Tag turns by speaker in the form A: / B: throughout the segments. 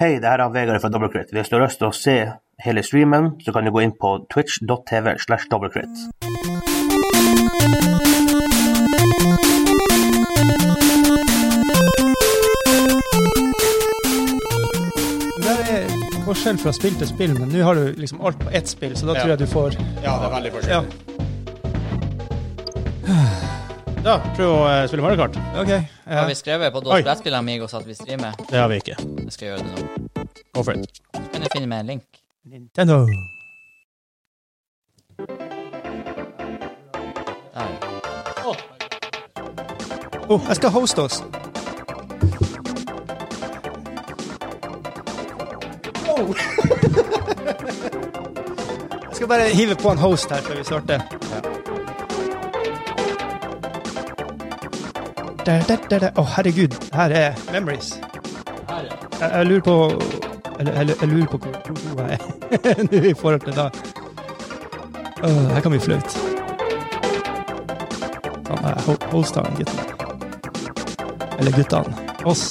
A: Hei, det her er Vegard fra Dobbelkritt. Hvis du har lyst til å se hele streamen, så kan du gå inn på twitch.tv slash dobbelkritt.
B: Det er forskjell fra spill til spill, men nå har du liksom alt på ett spill, så da
C: Ja.
B: tror jeg du får
C: Ja, det er veldig
B: Ja.
C: forskjellig. Ja, prøv å eh, spille Mario Kart.
B: OK.
D: Har
B: Eh,
D: vi skrevet på
C: Oi.
D: brettspillet Amigos at vi streamer?
C: Det har vi ikke.
D: Jeg skal gjøre det nå.
C: Go for it.
D: Kan du finne meg en link?
B: Nintendo.
D: Der.
B: Oh, jeg skal hoste oss. Oh. jeg skal bare hive på en host her før vi starter. Der, der, der, der. Å, herregud. Her er memories. Jeg, jeg lurer på Eller jeg, jeg lurer på hvor hvor jeg er nå i forhold til da. Åh, her kan bli flaut. Faen, jeg hol- Holster han, gutten. Eller guttene. Oss.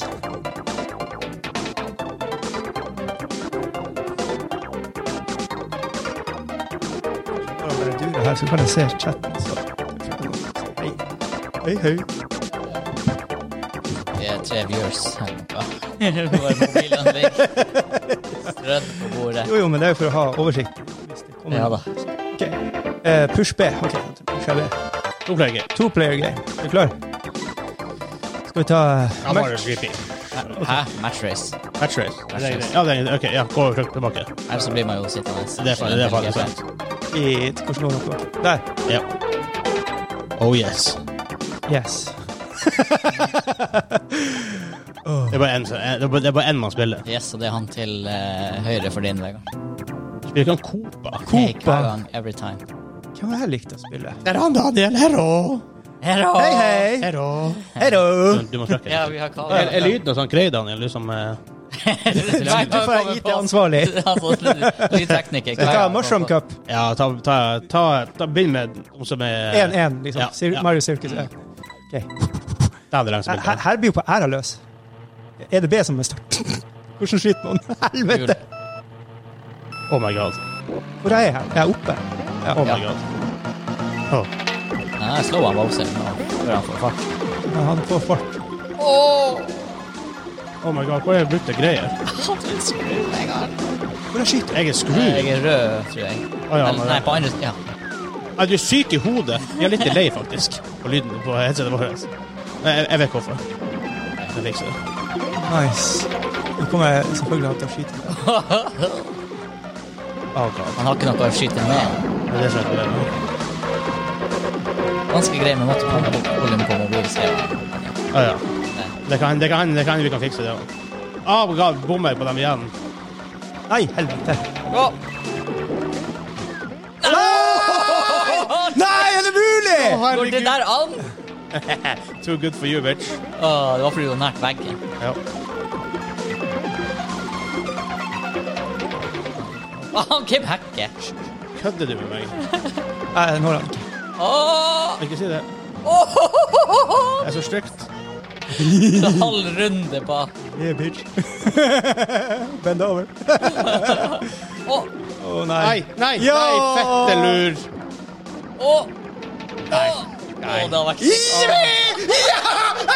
B: Bare bare dure her, så kan jeg se chatten. Så. Hei. Hei, hei.
D: Vi er tre viewers her nå. Det var mobilen din. Strødd på bordet.
B: Jo, jo, men det er jo for å ha oversikt. Hvis det kommer.
D: Ja da.
B: Ok. Eh, push B. Ok, push B.
C: To player game.
B: To player game. Er du klar? Skal vi ta
C: Ja, Mario GP.
D: Hæ? Matchrace?
C: Match race. Ja, det er greit. Ja, det er greit. Ok, ja, gå og trykk tilbake.
D: Her så blir man jo sittende.
C: Det er farlig, det er farlig. sant.
B: i hvordan lå dere? Der.
C: Ja. Oh yes.
B: Yes.
C: Det er bare én det er bare- det er bare en man spiller.
D: Yes, og det er han til eh, høyre for din, Vegard.
C: Spiller ikke han Copa?
D: Take
B: Cooper.
D: hver gang, every time.
B: Hvem har jeg likt å spille?
C: Det er han, Daniel. Hello.
D: Hero!
B: Hei, hei!
C: Hello.
B: Hello!
C: Du, du må trykke.
D: Ja, vi har Karl.
C: Er, er lyden og sånn grei, Daniel? Du som eh,
D: Nei,
B: Du får jeg IT-ansvarlig.
D: Altså, lydtekniker.
B: Skal vi ta Mushroom Cup
C: Ja, ta, ta, ta, ta Begynn med noe som er
B: 1-1, liksom.
C: Ja,
B: Sir-
C: ja.
B: Mario Circus. ja. Ok.
C: Det er det langt
B: Her, her blir jo på æra løs. Er det B som er start? Hvordan skyter man? Helvete!
C: Oh my god.
B: Hvor er jeg her? Jeg er oppe. Ja.
C: Oh my
D: Ja.
C: god.
D: Nei, slå han Bowser nå. Før han får fart.
B: Ja, Han får fart.
C: Oh my god, Hvor er det brutte greier?
B: Hvor er skyter?
C: Jeg er
D: Jeg
C: screwed.
D: er rød, tror jeg.
C: Å, ja,
D: Eller,
C: men-
D: nei, på andre Ja.
C: Nei, Du er syk i hodet. Vi er litt lei, faktisk, på lyden på headsetet vårt. Nei, Jeg, jeg vet hvorfor. Jeg fikser det.
B: Nice. Nå kommer jeg selvfølgelig til å skyte. Ah,
C: Oh god.
D: Han har ikke noe å skyte med.
C: Det er det som er problemet.
D: Ganske grei med måte å holde opp volum på mobilen. ser jeg.
C: Å ja. Det kan det kan hende det kan hende vi kan fikse det òg. Oh my god, bommer på dem igjen.
B: Nei, helvete.
D: Gå!
B: Nei, er det mulig?!
D: Går det der an?
C: Too good for you, bitch.
D: Å, det var fordi du var nært veggen.
C: Ja.
D: Å, han Kim Hekke.
C: Kødder du med meg?
B: Nei, jeg når han ikke.
D: Åh!
C: Ikke si det.
D: Åh!
C: Det er så stygt.
D: Det er halv runde på.
B: Yeah, bitch. Bend over.
D: Å,
B: Å, nei.
C: Nei, nei,
B: Ja!
C: nei, fette lur.
D: å, å. Å, det hadde vært
C: Jeg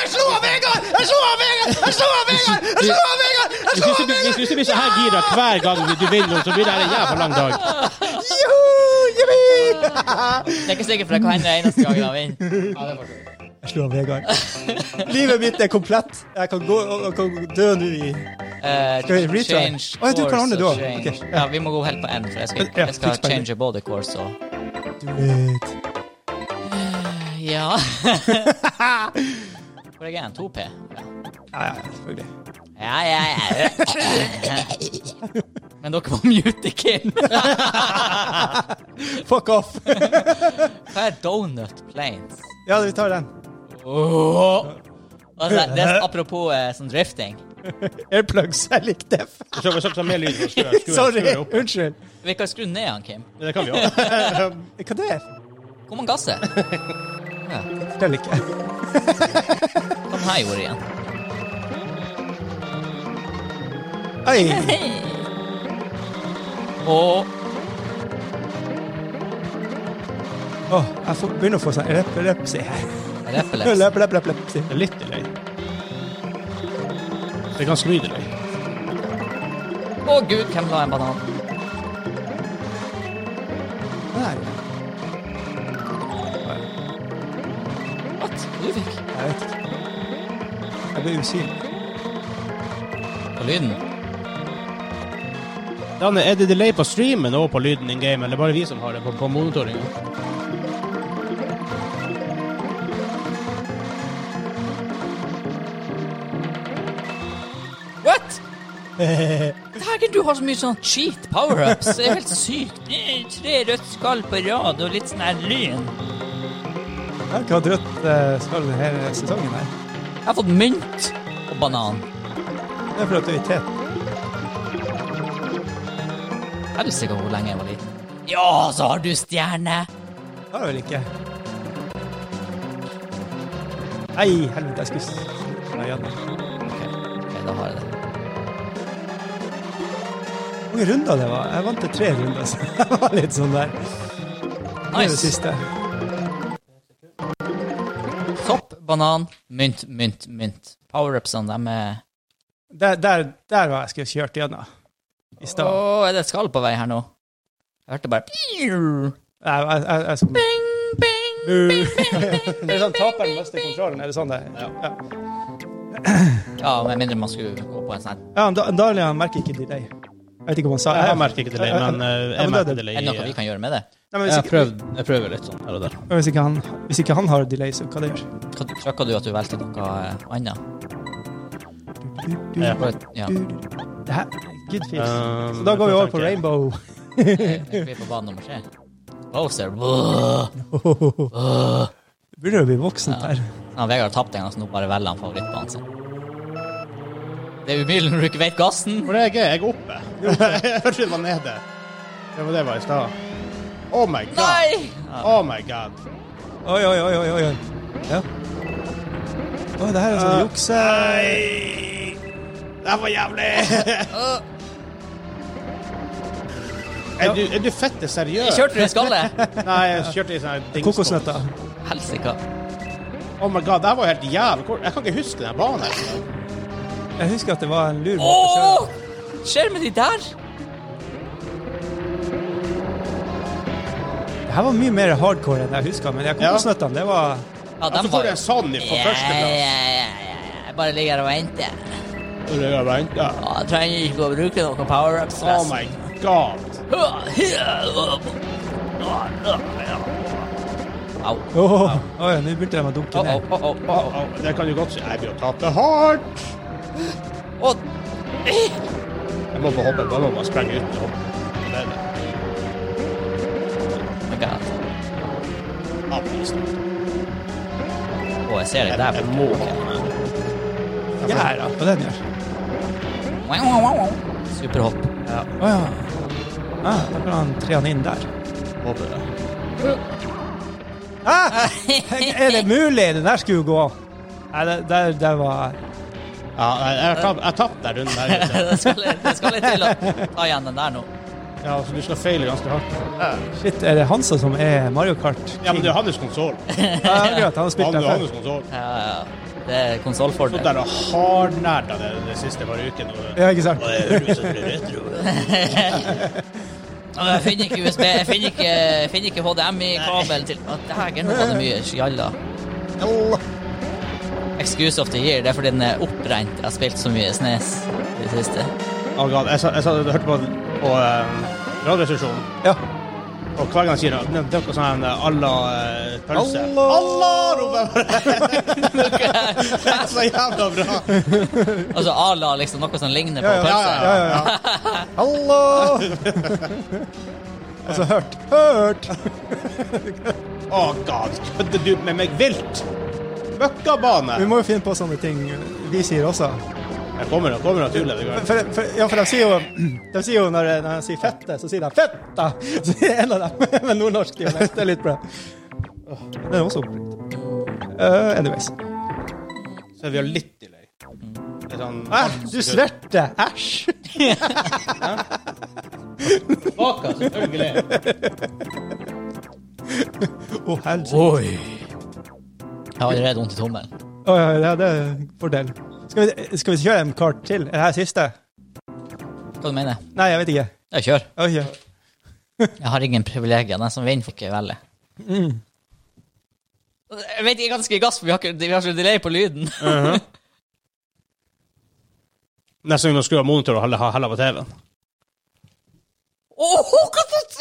C: slo av Vegard! Jeg slo av Vegard! Jeg slo av Vegard! Jeg slo av Vegard! Jeg slo av Vegard! Hvis du blir så her gira hver gang du vinner noe, så blir det her en jævla lang dag.
B: Joho! Jippi!
D: Det er ikke sikkert, for det kan hende eneste gang han vinner.
B: Jeg slår Vegard. Livet mitt er komplett. Jeg kan, gå, jeg kan dø nå i
D: Eh,
B: Skal vi retry?
D: change
B: Å, ja, du kan
D: course
B: handle da.
D: og change-
B: Ok, ja.
D: Ja, vi må gå helt på end, for jeg skal,
B: Ja,
D: jeg skal
B: fiks begge.
D: change både course og
B: Du vet.
D: Ja. Hvor er jeg? en? 2P? Ja.
B: Ja, ja, selvfølgelig.
D: Ja, ja, ja. Men dere må mute Kim.
B: Fuck off!
D: Hva er donut planes?
B: Ja, vi tar den.
D: Åh. Altså, det er apropos eh, sånn drifting.
B: Airplugs. Jeg likte det.
C: Så skal vi snakke mer lyd. så skrur jeg- skrur jeg-
B: Sorry.
C: skrur jeg opp.
B: Unnskyld.
D: Vi kan skru ned han, Kim.
C: Det kan vi også.
B: Hva det er?
D: Hvor mange gasser?
B: Fortell ikke.
D: Hva den her gjorde igjen?
B: Oi!
D: Og
B: Åh, jeg får, begynner å få sånn epilepsi her.
D: Repeleps.
B: Lep, lep, lep, lepsi.
C: Det er litt delay. Det er ganske mye delay.
D: Å gud, hvem la en banan?
B: Der.
D: What? Du fikk?
B: Jeg vet ikke. Jeg ble usynlig.
D: På lyden?
C: Danne, er det delay på streamen og på lyden in game, eller bare vi som har det på, på monitoringa?
D: What? Dægen, du har så mye sånn cheat power-ups. Det er helt sykt. Eh, Tre rødt skall på rad og litt sånn her lyn.
B: Jeg har ikke hatt rødt eh, skall hele sesongen her.
D: Jeg har fått mynt og banan.
B: Det er for at du er tett.
D: Helsike hvor lenge jeg var liten. Ja, så har du stjerne.
B: Det har jeg vel ikke. Nei, helvete, jeg skulle s- Nei, igjen.
D: Ok, ok, da har jeg det.
B: Hvor mange runder det var? Jeg vant til tre runder, så jeg var litt sånn der. Det er det
D: Nice.
B: siste.
D: Sopp, banan, mynt, mynt, mynt. Power-upsene, de er
B: Der, der, der var jeg skulle kjørt gjennom. I
D: Å,
B: stad.
D: er det et skall på vei her nå? Jeg hørte bare Pew!
B: Nei, jeg, jeg, jeg skulle...
D: Bing, bing.
B: Uh. Er det sånn taperen mister kontrollen? Er det sånn det er? Ja.
D: Ja, med mindre man skulle gå på en sånn
B: Ja, men da, Daniel han merker ikke delay. Jeg vet ikke om han sa
C: Jeg merker ikke delay, men
B: Ja,
C: eh, jeg
B: men det er
C: merker
B: det.
C: delay.
D: Er det noe vi
C: eh,
D: kan gjøre med det?
B: Nei, men hvis,
C: Jeg,
B: ikke,
C: prøvd, jeg prøver litt sånn her og der.
B: hvis, ikke han, hvis ikke han har delay, så hva det gjør
D: Hva Trykka du at du valgte noe eh, annet?
C: Ja.
D: Bare- Ja.
B: Det her, good feels.
C: Um,
B: så da går vi over på
C: jeg
B: rainbow.
D: Fikk vi på bane nummer tre? Bowser. Blah.
B: Begynner å bli voksent
D: Ja.
B: her.
D: Ja, Vegard har tapt en gang, så nå bare velger han favorittbanen sin. Det er umulig når du ikke vet gassen.
C: Hvor er jeg? Jeg er oppe. jeg hørte det var nede. Det var det jeg var i stad. Oh my god.
D: Nei!
C: Oh my god.
B: Oi, oi, oi, oi, oi. oi. Ja. Å, det her er sånn jukse...
C: Nei. Det var jævlig. er, du, er du fette seriøs?
D: Kjørte du i skallet?
C: Nei, jeg kjørte i sånn dingskål.
B: Kokosnøtter.
D: Helsika.
C: Oh my god, det her var jo helt jævlig kort. Jeg kan ikke huske den banen. altså. her.
B: Jeg husker at det var en lur måte å
D: Åh!
B: kjøre.
D: Skjer med de der?
B: Det her var mye mer hardcore enn jeg husker, men ja, kokosnøttene, det var...
D: Ja,
C: Ja,
D: dem
C: så får du en sånn på
D: Ja, ja,
C: førsteplass.
D: ja, ja. Jeg bare ligger her og venter.
C: Ja.
D: Ja, Jeg trenger ikke å bruke noen power-ups.
C: Oh my god.
D: Au.
B: Åh, oi, nå begynte de å dunke ned.
D: Au, au, au, au.
C: Oh, det kan du godt si. Jeg blir å tape hardt.
D: Å,
C: Jeg må bare hoppe. Jeg må bare sprenge ut. nå. Det er det.
D: my God.
C: Avlyst.
D: Å, jeg ser det
C: Jeg,
D: der.
C: jeg må ha den.
B: Ja, da, hva den gjør.
D: Wow, wow, wow, wow. Superhopp.
B: Åja. Ja, Ah, da kan han tre han inn der.
C: Håper det.
B: Ah! Er det mulig? Den der skulle jo gå. Nei, det, der, der var...
C: Ja, jeg jeg har tapt- jeg har tapt den runden her. vet
D: det, skal, litt- det skal litt til å ta igjen den der nå.
C: du. Ja, så du skal feile ganske hardt.
B: Shit, er det Hansa som er Mario Kart?
C: Ja, men det er hans konsol.
B: Ja, akkurat, han har spilt
C: Han,
B: der
C: det er
B: før.
C: hans konsol.
D: Ja, ja, ja. det er
C: Stått
D: konsollfordel.
C: Sånn der og hardnerda det de siste par ukene. og-
B: Ja, ikke sant?
C: Og jeg hører ut som det er retro.
D: Jeg finner ikke USB, jeg finner ikke, jeg finner ikke HDMI-kabel til Å, Dægen, nå var det mye skjalla. Excuse of the year, det er fordi den er opprent. Jeg har spilt så mye Snes i det siste.
C: Oh god, jeg, sa- jeg, sa- jeg hørte på, på um, radioresepsjonen,
B: Ja.
C: og hver gang jeg sier det, det er noe sånn eh, Allah eh, pølse.
B: Allah!
C: roper jeg bare. Det er så jævla bra.
D: Altså Ala, liksom, noe som ligner på
B: Ja, ja,
D: pølse.
B: Ja, ja, ja. Hallo! Og så hørt. Hørt!
C: Oh god, kødder du med meg vilt? Møkkabane.
B: Vi må jo finne på sånne ting eh, vi sier også.
C: Jeg kommer, jeg kommer naturlig. det går.
B: For, for, ja, for de sier jo, de sier jo når, når de sier 'fette', så sier de 'fetta'! Så sier en av dem med nordnorsk dialekt. Det er litt bra. Det Eh, er også oppriktig. Uh, anyways.
C: Så vi har litt delay. Det er sånn
B: Æsj, du svetter! Æsj!
C: Baka, selvfølgelig.
B: Å, helsike.
D: Oi. Jeg har allerede vondt i tommelen.
B: Å, ja, ja, det er en fordel. Skal vi, skal vi kjøre en kart til? Er det her siste?
D: Hva du mener du?
B: Nei, jeg vet ikke.
D: Ja, kjør.
B: Oi, ja.
D: Jeg har ingen privilegier. Den som vinner, får ikke velge. Jeg vet ikke hva det skal i gass, for vi har, ikke, vi har så delay på lyden.
C: Neste gang du skrur av monitoren, heller ha heller på TV-en.
D: Åh, hva for-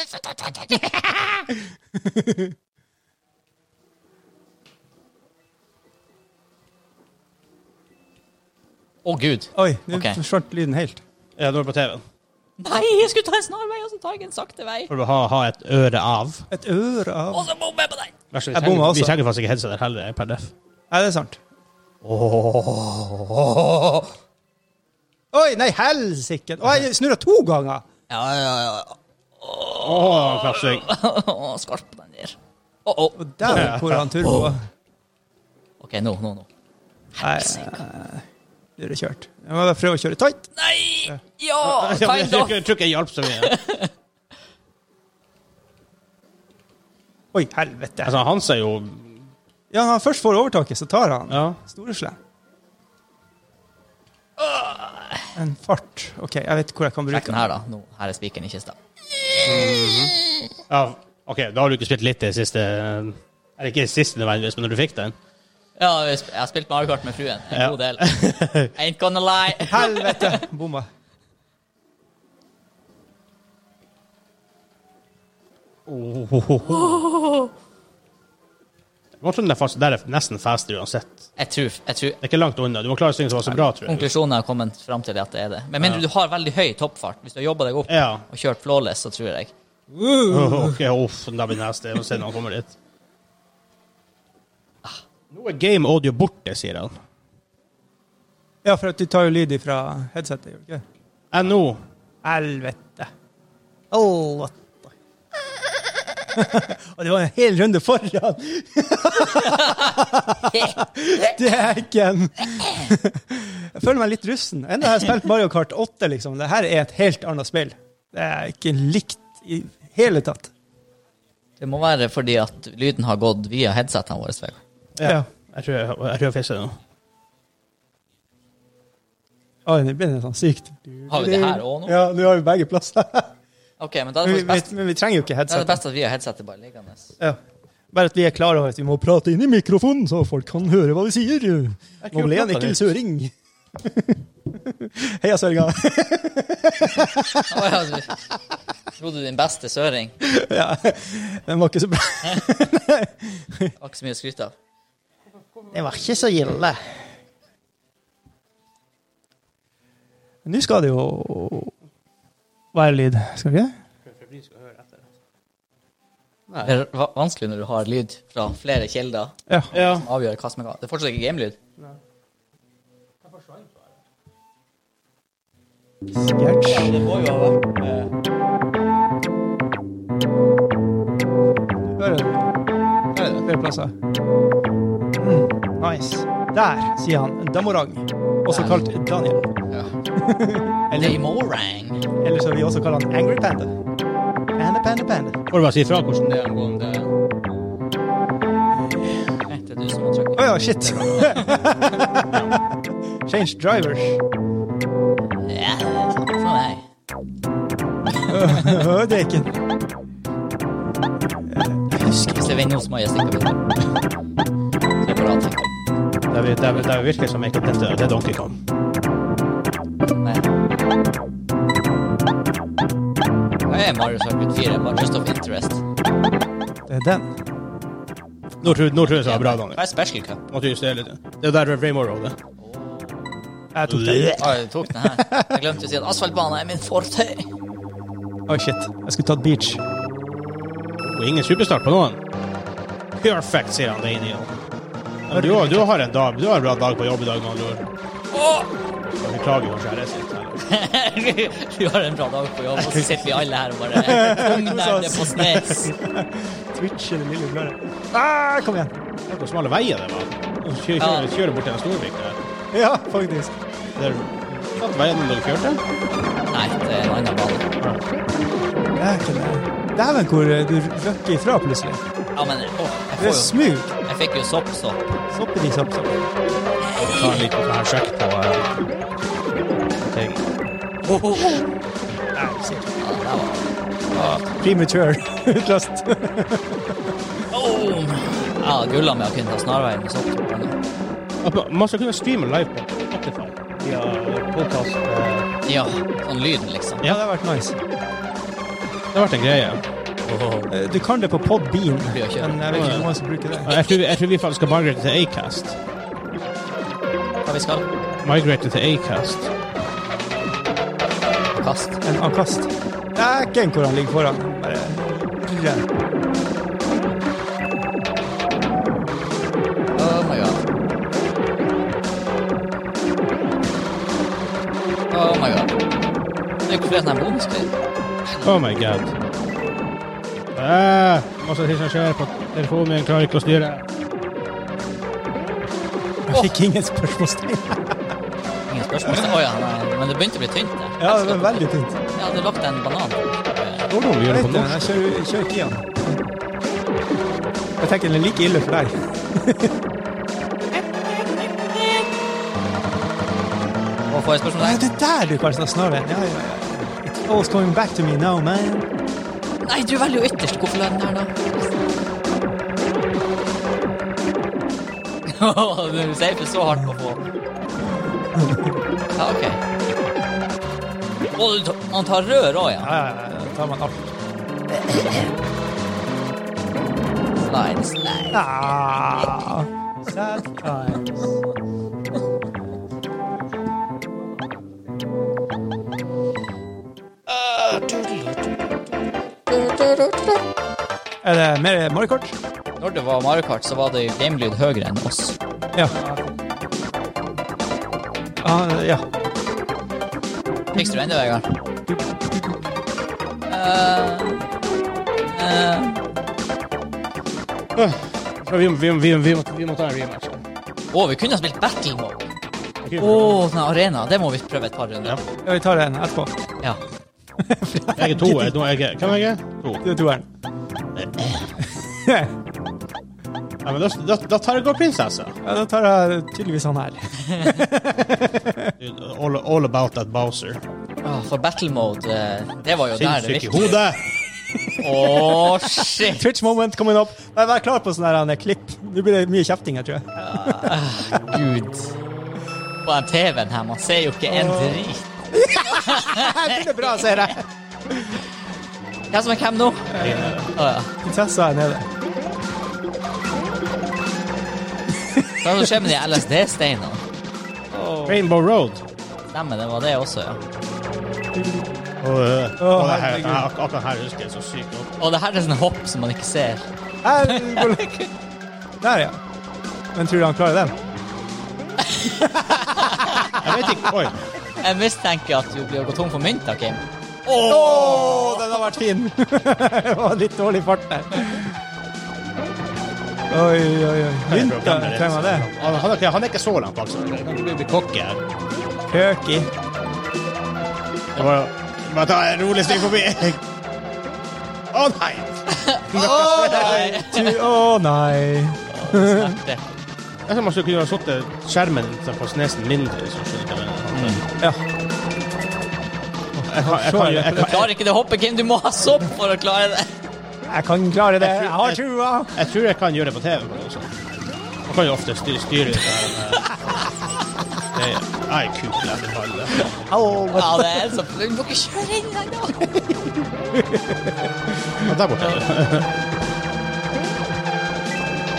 D: Å, gud.
B: Oi, nå
D: Ok.
B: forsvant lyden helt.
C: Ja, nå er det på TV-en.
D: Nei, jeg skulle ta en snarvei, og så tar jeg en sakte vei.
C: For du ha, ha et øre av.
B: Et øre av
D: Og så bommer jeg på den.
C: Vær
B: Jeg
C: så, vi, trenger,
B: bommer også.
C: vi trenger faktisk ikke headset her heller, per def.
B: Nei, det er sant. Oi, nei, helsike! Å, jeg snurra to ganger!
D: Ja, ja, ja.
C: Åh, klappsving.
D: Å, skarp på den der. Å, å.
B: Og der hvor han turbo.
D: Ok, nå, nå, nå.
B: Nei, nå er det kjørt. Jeg må bare prøve å kjøre tight.
D: Nei! Ja,
C: Ja, men
D: kind
C: Jeg
D: of.
C: tror jeg tror ikke jeg hjalp så mye.
B: Oi, helvete.
C: Altså, Hans er jo
B: Ja, når han først får overtaket, så tar han
C: Ja.
B: store slem. En fart. OK, jeg vet hvor jeg kan
D: Sjekk
B: bruke
D: den
B: den.
D: her, da. Nå, her er spikeren i kista.
C: ja, OK, da har du ikke spilt litt det siste Eller ikke det siste nødvendigvis, men når du fikk den.
D: Ja, jeg sp- jeg har spilt Mario Kart med fruen. En
C: Ja.
D: god del. Ain't gonna lie.
B: Helvete! Bomma.
C: Jeg tror den er fast, der er nesten faster uansett.
D: Jeg tror, jeg tror
C: Det er ikke langt unna. Du må klare ting som var så bra, tror jeg.
D: konklusjonen jeg har kommet fram til, er at det er det. Men mindre du har veldig høy toppfart, hvis du har jobba deg opp
C: Ja.
D: og kjørt flawless, så tror jeg
C: Åh, OK, uff, den der blir nasty. Vi får se når han kommer dit. Nå er game audio borte, sier han.
B: Ja, for at du tar jo lyd ifra headsetet, gjør du ikke?
C: NO.
B: Helvete. Allah. Og det var en hel runde foran! Dæken! Jeg føler meg litt russen. Enda har jeg spilt Mario Kart 8, liksom. Det her er et helt annet spill. Det er ikke likt i hele tatt.
D: Det må være fordi at lyden har gått via headsetene våre. Vegard.
B: Ja.
C: Jeg tror jeg, jeg, tror jeg fikser det nå.
B: Oi, nå ble det sånn sykt.
D: Har vi det her også nå?
B: Ja, nå har vi begge plasser.
D: Ok, men da er
B: Men
D: det
B: vi,
D: faktisk
B: vi,
D: best,
B: men vi trenger jo ikke
D: da er det
B: headset.
D: best at vi har headsetet bare liggende.
B: Ja. Bare at vi er klar over at vi må prate inn i mikrofonen, så folk kan høre hva vi sier. Nå ble han
C: prate
B: ikke
C: litt.
B: søring. Heia Sørga.
D: Å, ja, du- Tror du din beste søring? Det
B: Ja. Den var ikke så bra.
D: var ikke så mye å skryte av.
B: Den var ikke så gilde. Nå skal det jo være lyd, skal vi ikke?
D: Det er va- vanskelig når du har lyd fra flere kilder.
B: Ja.
C: Ja.
D: som Avgjør hva som er hva. Det er fortsatt ikke gamelyd.
B: Sketsj.
D: Det må jo ha vært
B: Hører du? Hører du? Flere plasser. Mm, nice. Der, sier han. Damorang. Også kalt Daniel.
D: ja.
B: Eller,
D: Morang.
B: eller som vi også kaller han Angry Panda. Panda, panda, panda.
C: Får du bare si ifra hvordan det er angående
D: eh. Nei, det er du som har
B: Å
D: trykket.
B: ja, shit. Change drivers.
D: Ja, sånn er jeg.
B: Å, det er ikke
D: Husk, hvis jeg vinner nå, så må jeg stikke videre. Så jeg bare avtenker.
C: Det, vir- det, vir- det virker som ikke dette det er Donkey Kong.
D: Nei. Jeg er Mario Circuit 4, bare just of interest.
B: Det er den.
C: Nå tror, nå tror jeg det var bra, Daniel.
D: Hva er special cup?
C: Nå tror jeg det er litt. Det er jo der Raymore Road er.
B: Jeg tok den.
D: Ah, jeg tok den her. Jeg glemte å si at asfaltbanen er min forte.
B: Å, shit. Jeg skulle tatt beach.
C: Og ingen superstart på noen. Perfect, sier han Daniel. Men du, du har en dag, du har en bra dag på jobb i dag, med andre ord. Jeg Beklager vår kjære sitt.
D: Du har en bra dag på jobb, og så sitter vi alle her og bare omnærmer på snes.
B: Twitch er det lille bløret. Ah, kom igjen.
C: Tenk hvor smale veier det var. Kjører kjør, kjør kjører bort til en storvik der.
B: Ja, faktisk.
C: Det kan være en dere kjørte.
D: Nei, det er en annen bane.
B: Dæken, eh, Dæven, hvor eh, du røkker ifra plutselig.
D: Ja, men
B: Du
D: åh, jeg,
B: er
D: får jo,
B: smug.
D: jeg fikk jo soppsopp.
B: Sopperi, sopp, sopp.
C: Ta en liten sånn her sjekk på eh, ting.
D: Oh, oh. Ja,
B: Nei, shit.
D: det der var
B: Premature utlast.
D: Boom! Jeg hadde gulla med å kunne ta snarveien med sopp.
C: At Man skal kunne streame live på Spotify. Via podcast. eh,
D: Ja, sånn lyden, liksom.
B: Ja, det har vært nice.
C: Det har vært en greie.
D: Åh.
B: Eh, Du kan det på Podbean,
D: Blir å kjøre.
B: men jeg vet ikke om man skal bruke det.
C: Jeg tror, vi- jeg tror vi faktisk skal migrate til Acast.
D: Hva vi skal?
C: Migrate til Acast.
D: Kast.
B: En avkast. Dæken, hvor han ligger foran. Bare rød.
D: Oh my god. Oh my god. Det er jo ikke flere sånne bonusgreier.
C: Oh my god. Ah, masse ting som skjer på telefonen min, klarer ikke å styre.
B: Jeg fikk ingen spørsmålstegn.
D: Ingen spørsmål. Å ja, nei, men det begynte å bli tynt der.
B: Ja, det var veldig tynt.
D: Jeg hadde lagt en banan. Eh,
C: Hvordan må vi
B: Jeg
C: gjøre det
B: vet
C: på
B: det, men
C: norsk?
B: jeg kjører, kjører ikke igjen. Jeg tenker den er like ille for deg.
D: Og får jeg spørsmål
B: Nei,
D: der?
B: det er der du kan snakke snarveien. Ja, ja, ja. It's always coming back to me now, man.
D: Nei, du velger jo ytterst. Hvorfor la den der, da? Åh, Du safer så hardt på å få. Ja, OK. Og du tar- han tar rør òg, ja.
B: Ja, ja, ja. Da tar man alt.
D: Slide, slide.
B: Ah, sad times. Ah, Er det mer Mario Kart?
D: Når det var Mario Kart, så var det gamelyd høyere enn oss.
B: Ja. Ah, ja.
D: Fikser du ennå, Vegard?
C: Ja, Eh, Vi, vi, vi, vi, må, vi må ta en rematch. her.
D: Å, vi kunne ha spilt battle mode.
C: Vi
D: Å,
C: kunne-
D: den arena. Det må vi prøve et par runder.
B: ja. Vi tar den etterpå.
D: Ja.
C: Jeg er to. Jeg, nå er jeg, hvem er jeg? To.
B: Det er toeren.
C: Ja, men da, da, da tar jeg gå prinsesse.
B: Ja, da tar jeg tydeligvis han her.
C: All, all about that Bowser.
D: Å, for Ah, battle mode, eh, det var jo der det
C: Sinnssyk i
D: virkelig
C: hodet.
D: Å, shit!
B: Twitch moment coming up. Nei, vær klar på sånne her, Anne, klipp. Nå blir det mye kjefting her, tror jeg.
D: Gud. På den TV-en her, man ser jo ikke en drit.
B: Det er bra, ser jeg.
D: Hvem som er hvem nå? Å ja.
B: Prinsessa er nede.
D: Hva er det som skjer med de LSD-steinene?
C: Rainbow Road.
D: Stemmer, det var det også, ja.
C: Og, øh,
B: Å,
C: og det her,
B: herregud.
C: ak- akkurat her husker jeg så sykt godt.
D: Og det her er sånne hopp som man ikke ser.
B: Her går Der, ja. Men tror du han klarer den?
C: Jeg vet ikke. Oi.
D: Jeg mistenker at du blir å gå tom for mynter, Kim.
B: Å, den har vært fin! det var litt dårlig fart der. Oi, oi, oi. Mynta, trenger man det?
C: Han, han, er ikke- han er ikke så langt altså. bak. så Jeg kan ikke bli- bli kokke her.
B: Perky.
C: Det var Bare ta en rolig stig forbi. Å nei!
D: Å nei!
B: Å oh, nei.
D: Smerte.
C: Jeg tror man skulle kunne ha satt skjermen liksom, på snesen mindre. Så skjønner jeg hva jeg mener.
B: Ja.
C: Jeg kan- jeg kan jo- jeg
D: Du
C: kan-
D: klarer ikke det hoppet, Kim. Du må ha sopp for å klare det.
B: Jeg kan klare det. Jeg har trua.
C: jeg tror jeg kan gjøre det på TV. men Også. Man kan jo ofte styre, styre det her. men, eh, det er- Jeg er kul jeg vil kalle det.
B: Au.
D: Ja, det er så Du må ikke kjøre inn der, da.
C: Ja, Der borte.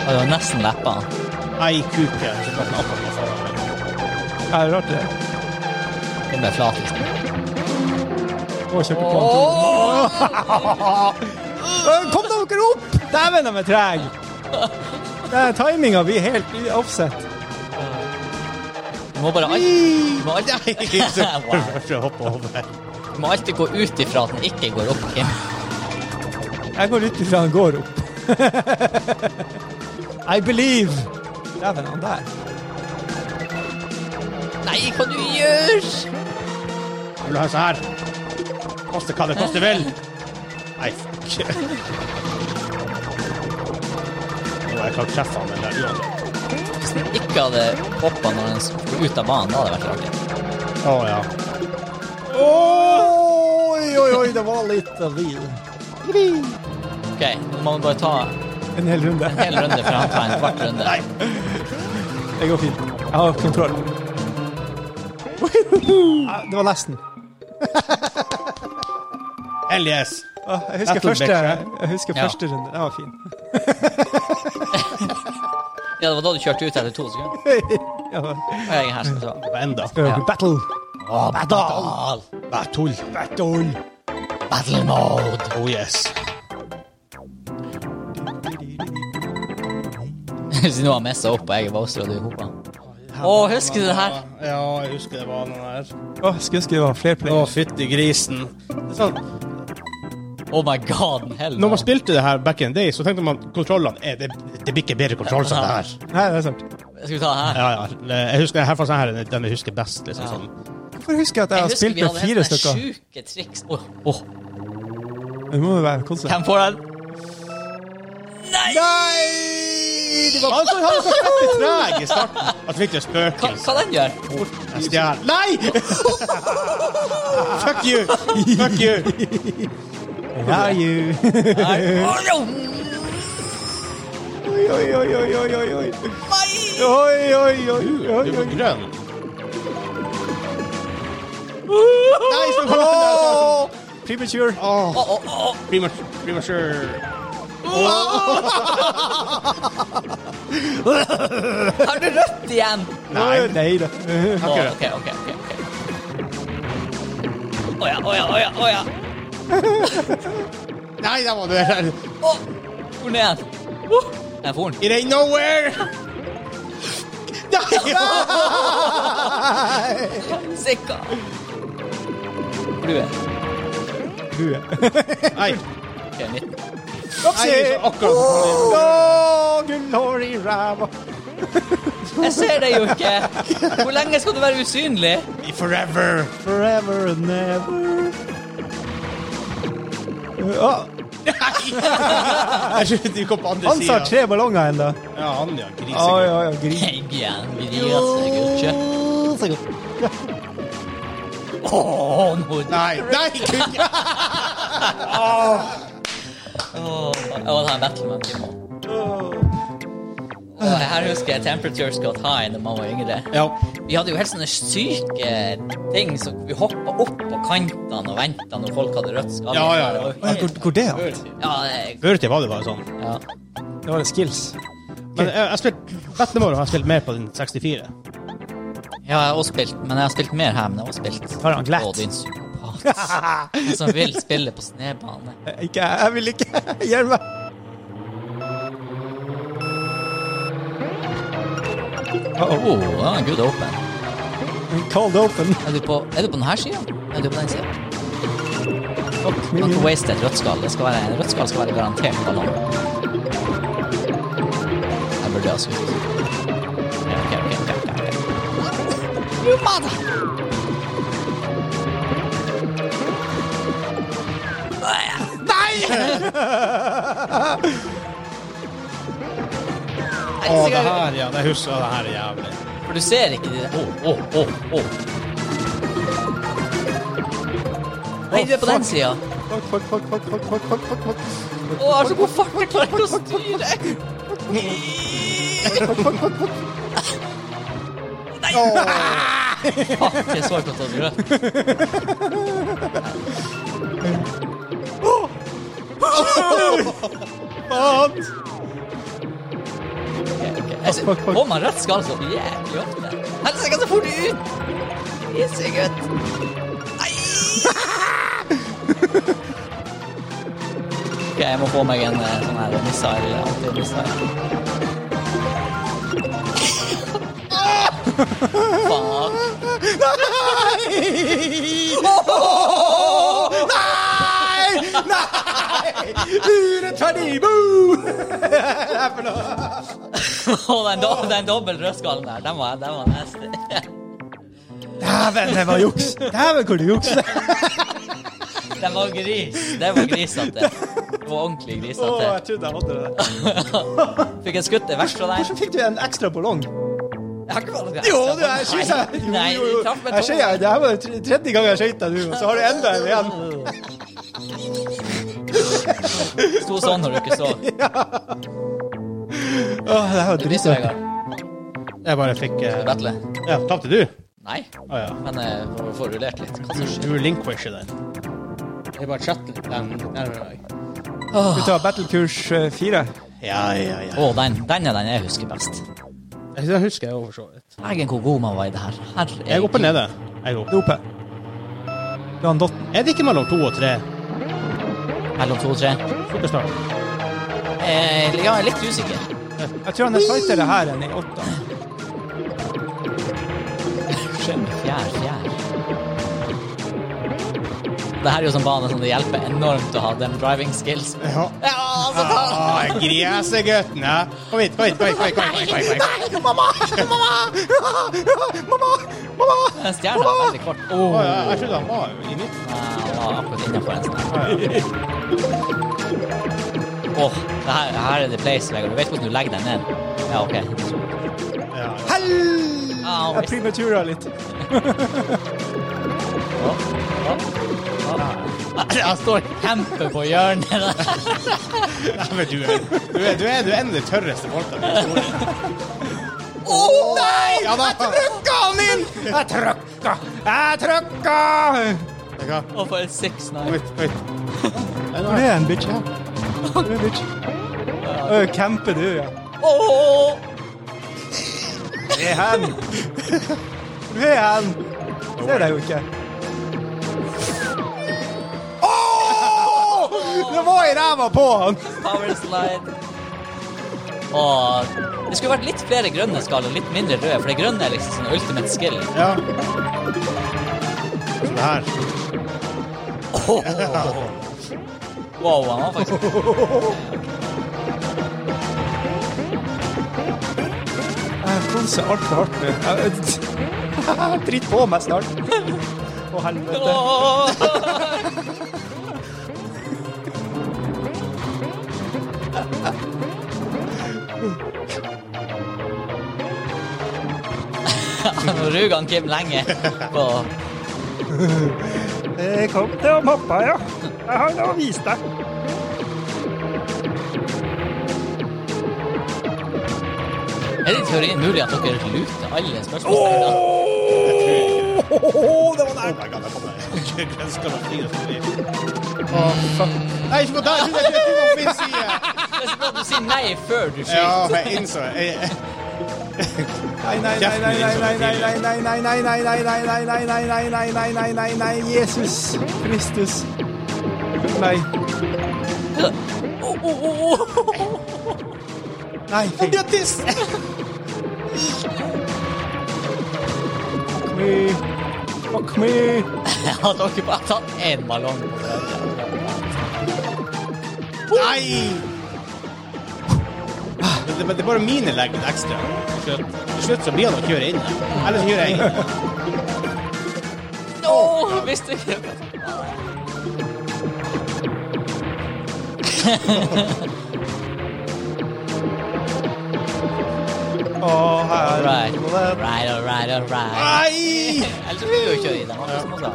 D: Ja, det var nesten leppene.
C: Jeg er kuke. så kan jeg akkurat gå foran meg.
B: Ja, rart det.
D: Det ble flat, liksom.
B: Å, kjørte på. Øh, Kom dere opp! Dæven, de er trege! Timinga blir helt offset.
D: Du må bare alltid, du må alltid, Wow.
C: Prøv å hoppe over.
D: du må alltid gå ut ifra at den ikke går opp, Kim.
B: Jeg går ut ifra han går opp. I believe. Dæven, han der.
D: Nei, hva du gjør?
C: Jeg vil ha en sånn her. Koste hva det koste vil. Nei, fuck. Nå har jeg klart treffe han, men det er uansett.
D: Hvis den ikke hadde hoppa når den skulle ut av banen, da hadde det vært artig.
C: Å, ja.
E: Oi, oi, oi, det var litt av liv.
D: OK, nå må vi bare ta en
E: En hel runde.
D: hel runde for han tar en kvart runde.
E: Det går fint. Jeg har kontroll.
B: Ja, Det var nesten.
C: Hell yes.
B: Å, Jeg husker,
C: Battle
B: første, jeg husker
D: Ja.
B: første runde. Den var fin.
D: Ja, det var da du kjørte ut etter to sekunder.
B: Ja, det var-
D: Og jeg er her skal ta.
C: På enda.
B: det var
D: Ja.
B: Battle.
C: Battle! Battle! Battle! Battle mode! Oh yes.
D: Siden du har messa opp, og jeg er Bowser, og du er hopa. Å, husker du det her?
C: Ja, jeg husker det var den der.
B: Å, skulle ønske det var flere
C: Å,
B: players.
C: fytti grisen. Det er sånn,
D: Oh my god, in hell.
C: når man spilte det her back in the day, så tenkte man kontrollene eh, det, det blir ikke bedre kontroll som det her.
B: Nei, det er sant.
D: Skal vi ta det her?
C: Ja, ja. Jeg husker her sånn her, den jeg husker best. liksom
D: Ja.
C: sånn.
B: Hvorfor husker jeg at jeg har spilt med fire stykker?
D: helt sånn sjuke triks. Åh, åh,
B: Det må jo være konsert.
D: Hvem får den? Nei!
C: Nei! Det var han som var så fette treg i starten at vi fikk det
D: Hva,
C: spøkelse.
D: hva den gjør?
C: Jeg stjal. Nei! Fuck you! Fuck you!
B: Ja, you.
D: Nei. Åh, jo.
B: Oi, oi, oi, oi, oi, oi, oi.
D: Nei!
B: Oi, oi, oi, oi,
C: Du
B: oi.
C: var grønn. Nei, så kom han
B: Premature.
D: Åh, åh, åh.
C: der! Premature.
D: Har du rødt igjen?
C: Nei.
B: Nei da.
D: Åh,
C: ikke
D: ok, ok, ok. ok. Åja, åja, åja, åja.
C: Nei, der var du der.
D: Åh, hvor ned? Åh, Der for den.
C: It ain't nowhere! Nei!
D: Sikka. Flue.
B: Bue.
C: Nei.
D: Ok,
C: Nei,
D: 19.
C: så akkurat.
B: Oh, glory ram.
D: Jeg ser deg jo ikke. Hvor lenge skal du være usynlig?
C: Forever.
B: Forever and never. Å,
C: Jeg trodde du kom på andre
B: han
C: sida.
B: sa tre ballonger ennå.
C: Ja, han, ja.
B: Oi,
C: Grisegud.
B: oi, oi. Gris.
D: Nei, igjen. Griser, guttje. Åh, nå
C: Nei, nei, gud!
D: Åh, Jeg må ta en battle med Primo. Åh, Her husker jeg Temperatures Got High da man var yngre.
C: Ja.
D: Vi hadde jo helt sånne syke eh, ting som vi hoppa opp på kantene og venta når folk hadde rødt skall.
C: Ja, ja, ja.
D: Det var helt-
B: Hvor, hvor det er?
D: ja, det-
C: Før i tida var det bare sånn.
D: ja.
B: Det var det skills.
C: Men jeg, jeg spilt, Battle har jeg spilt mer på den 64.
D: ja, jeg har også spilt, men jeg har spilt mer her. Men jeg har også spilt
B: Har han glatt?
D: Å, din psykopat. Han som vil spille på snebane.
B: Eh, Ikke, jeg jeg vil ikke. Hjelp meg.
D: Åh, oh, det var en good open.
B: Cold open.
D: Er du på, er du på denne sida? Er du på den sida?
B: Fuck
D: Du
B: me.
D: kan ikke waste et rødt skall. Det skal være, en rødt skall skal være garantert ballong. Jeg burde ha skutt. Ja, ok, ok, ok, ok, ok.
C: Å, det her, ja. Jeg husker det her er jævlig.
D: For du ser ikke det. Åh, åh, åh, åh. Nei, du er på den sida.
B: Fuck, fuck, fuck, fuck, fuck, fuck, fuck, fuck, fuck.
D: Å, jeg har så god fart, jeg klarer ikke å styre. Nei! Fuck, jeg svarte at det var grøt.
B: Faen!
D: Altså, Får man rett skall, så jævlig ofte. Helsike, så fort du ut! Jesus, gutt. Nei! Ok, jeg må få meg en eh, sånn her missile. Anti-missile. Faen.
B: Urettferdig! Boo!
D: Å, den, do den dobbel rødskallen der, den var, den var nasty.
B: Dæven, det var juks! Dæven, hvor du jukser!
D: Den var gris. Den var grisete. Den var ordentlig grisete.
B: trodde jeg hadde det.
D: Fikk jeg skutt det verst fra deg?
B: Hvordan fikk du en ekstra ballong?
D: Jeg har ikke vært
B: Jo, det er, jeg synes jeg jo,
D: Nei,
B: jo, jo.
D: traff meg
B: Jeg sier, Det her var tre- tredje gang jeg skøyta nå, og så har du enda en igjen.
D: Sto sånn når du ikke så.
B: Åh, det her var
D: Du visste,
B: dritbra.
D: Vegard.
C: Jeg bare fikk eh,
D: Battle.
C: Ja, tapte du?
D: Nei,
C: Å ja.
D: men jeg får- får rullert litt. Hva som skjer?
C: Du relinquisher den. Jeg bare chatter den nærmere deg.
B: Du tar battlekurs eh, fire.
C: Ja, ja, ja.
D: Å, den, den er den jeg husker best.
C: Jeg synes jeg husker jeg overså litt.
D: Egen hvor god man var i det her. Herregud.
C: Jeg er oppe og nede. Jeg er oppe.
B: Det er oppe. Du har en dott.
C: Er det ikke mellom to og tre?
D: Mellom to og tre.
C: Superstart.
D: Eh, ja, jeg er litt usikker.
B: Jeg tror han er fightere her enn i åtta.
D: Fjær, fjær. Det her er jo sånn bane som det hjelper enormt å ha den driving skills.
C: Ja.
D: Ja, altså, så bra!
C: Ah, Gresegutten, hæ? Kom hit, kom hit, kom hit. Kom hit, kom hit, kom hit, kom hit.
D: Den stjerna er veldig kort. Å,
C: Å, ja, jeg trodde han var i midten.
D: den var akkurat innenfor en sånn. Åh, det her, her er the place, Vegard. Du vet hvordan du legger deg ned. Ja, ok.
C: Ja, ja.
B: Hell!
D: Ah,
B: Jeg prematura litt.
D: Han står og camper på hjørnet.
C: Nei, men du er, du er, du er, du er en av de tørreste folka i historien.
D: Å nei!
C: Ja, da.
B: Trykka han inn! Jeg trykka! Jeg trykka!
C: Vet du hva?
D: Og for en six
C: Kom
D: nine.
C: hit, kom hit.
B: Hvor er en bitch her? Hvor er en bitch? Åh, Camper du, ja.
D: Åh!
B: Hvor er han? Hvor er han? Ser deg jo ikke. Åh! Det var i ræva på han!
D: Power slide. Og det skulle vært litt flere grønne skall og litt mindre røde, for det grønne er liksom sånn ultimate skill.
C: Ja. Sånn her.
D: Wow, han var faktisk
B: Jeg konser altfor hardt nå. Jeg- Dritt på meg snart. Å, helvete.
D: Åh! Nå ruger han Kim lenge på
B: Eh, Kom til å mappa, ja. Jeg har nå vist deg.
D: Er det i teorien mulig at dere luter alle spørsmålene?
B: Åh, det var
C: Oh
B: nært.
C: my god, jeg kom meg. Grønskala flyr og flyr.
B: Åh, fuck.
C: Nei, ikke gå der! Jeg trodde jeg trodde det var min side!
D: Det er så bra at du sier nei før du
C: Ja,
D: skyter.
C: jeg innså det.
B: Nei, nei, nei, nei, nei, nei, nei, nei, nei, nei, nei, nei, nei, nei, nei, nei, nei, nei, nei, nei, nei, nei, Jesus Kristus. Nei.
D: Åh, åh, åh, åh.
B: Nei, fy.
C: Grattis!
B: Fuck me. Fuck me.
D: Jeg hadde dere bare tatt én ballong.
C: Nei! Det, det, det er bare mine legg litt ekstra. Så Til slutt så blir han å kjøre inn. Eller så kjører jeg inn.
D: Nå visste jeg ikke
B: Åh, her.
D: Right, right, all right, all right.
C: Nei!
D: Ellers vil du jo kjøre i altså. den. akkurat som oss da.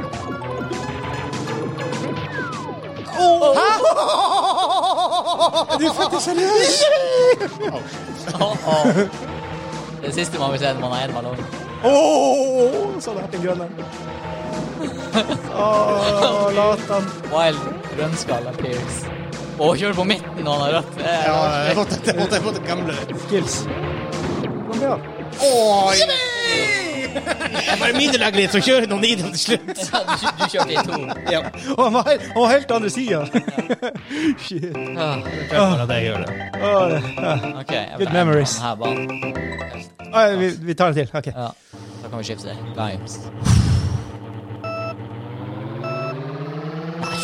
B: Er du faktisk seriøs?
D: Åh, åh. Det siste man vil se når man har én ballong.
B: Åh, så hadde jeg hatt en grønn en. Åh, latan.
D: Wild grønnskala Pierce. Og kjøre på midten når han har rødt. Det er
C: Ja,
D: artig.
C: jeg måtte, jeg måtte, jeg måtte gamble litt.
B: Skills. Kom igjen.
C: Oi! Det er bare mine legg litt, så kjører noen inn til slutt.
D: Ja, du, kjør- du kjørte i to.
C: Ja.
B: Åh, han var helt- han var helt andre siden. Shit.
D: Ah,
C: Bare det jeg gjør det.
B: Åh, det. ja.
D: Ok, jeg
B: Good
D: ble-
B: memories.
D: Her banen.
B: Åh, vi- Vi tar en til. Ok.
D: Ja, da kan vi skifte games.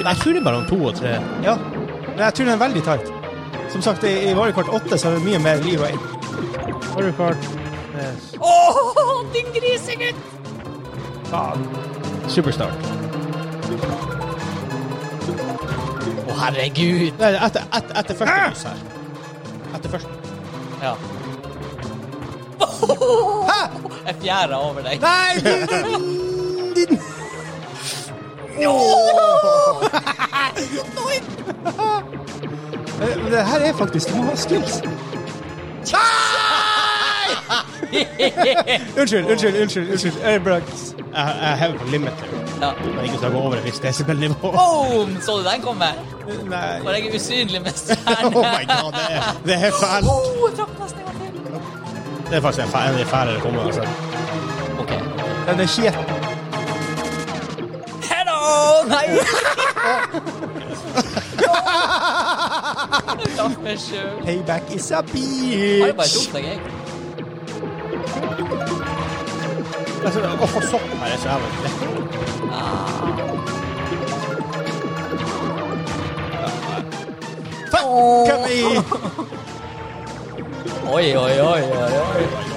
C: Jeg tror det er bare om to og tre.
B: Ja, men jeg tror den er veldig tight. Som sagt, i i Mario Kart 8 så er det mye mer liv og inn.
C: Mario Kart.
D: Åh, din grisegutt!
B: faen.
C: Superstar.
D: Å, herregud.
C: Nei, etter, etter, etter første lys her. Etter første.
D: Ja. Jeg fjæra over deg.
C: Nei, du,
B: Eh, men Det her er faktisk Du må ha skills. Unnskyld, unnskyld, unnskyld. unnskyld. Jeg er braks.
C: Jeg, jeg hever på limiter.
D: Ja.
C: Men ikke så jeg går over et visst desibel-nivå.
D: Boom! Så du den komme?
B: Nei.
D: Var jeg usynlig med
C: Oh
D: stjerne?
C: my god, det er, det er fælt.
D: Oh, jeg traff nesten en gang til.
C: Det er faktisk en fæl, en fælere kombo. Altså.
D: OK.
B: Den er skjet.
D: Hello! Nei! Jeg traff meg sjøl.
B: Payback is a
D: Har jeg bare
B: bitch.
D: dumt deg, jeg?
C: Altså, Å få sopp her er så jævlig lett.
B: Come here.
D: Oi, oi, oi, oi, oi.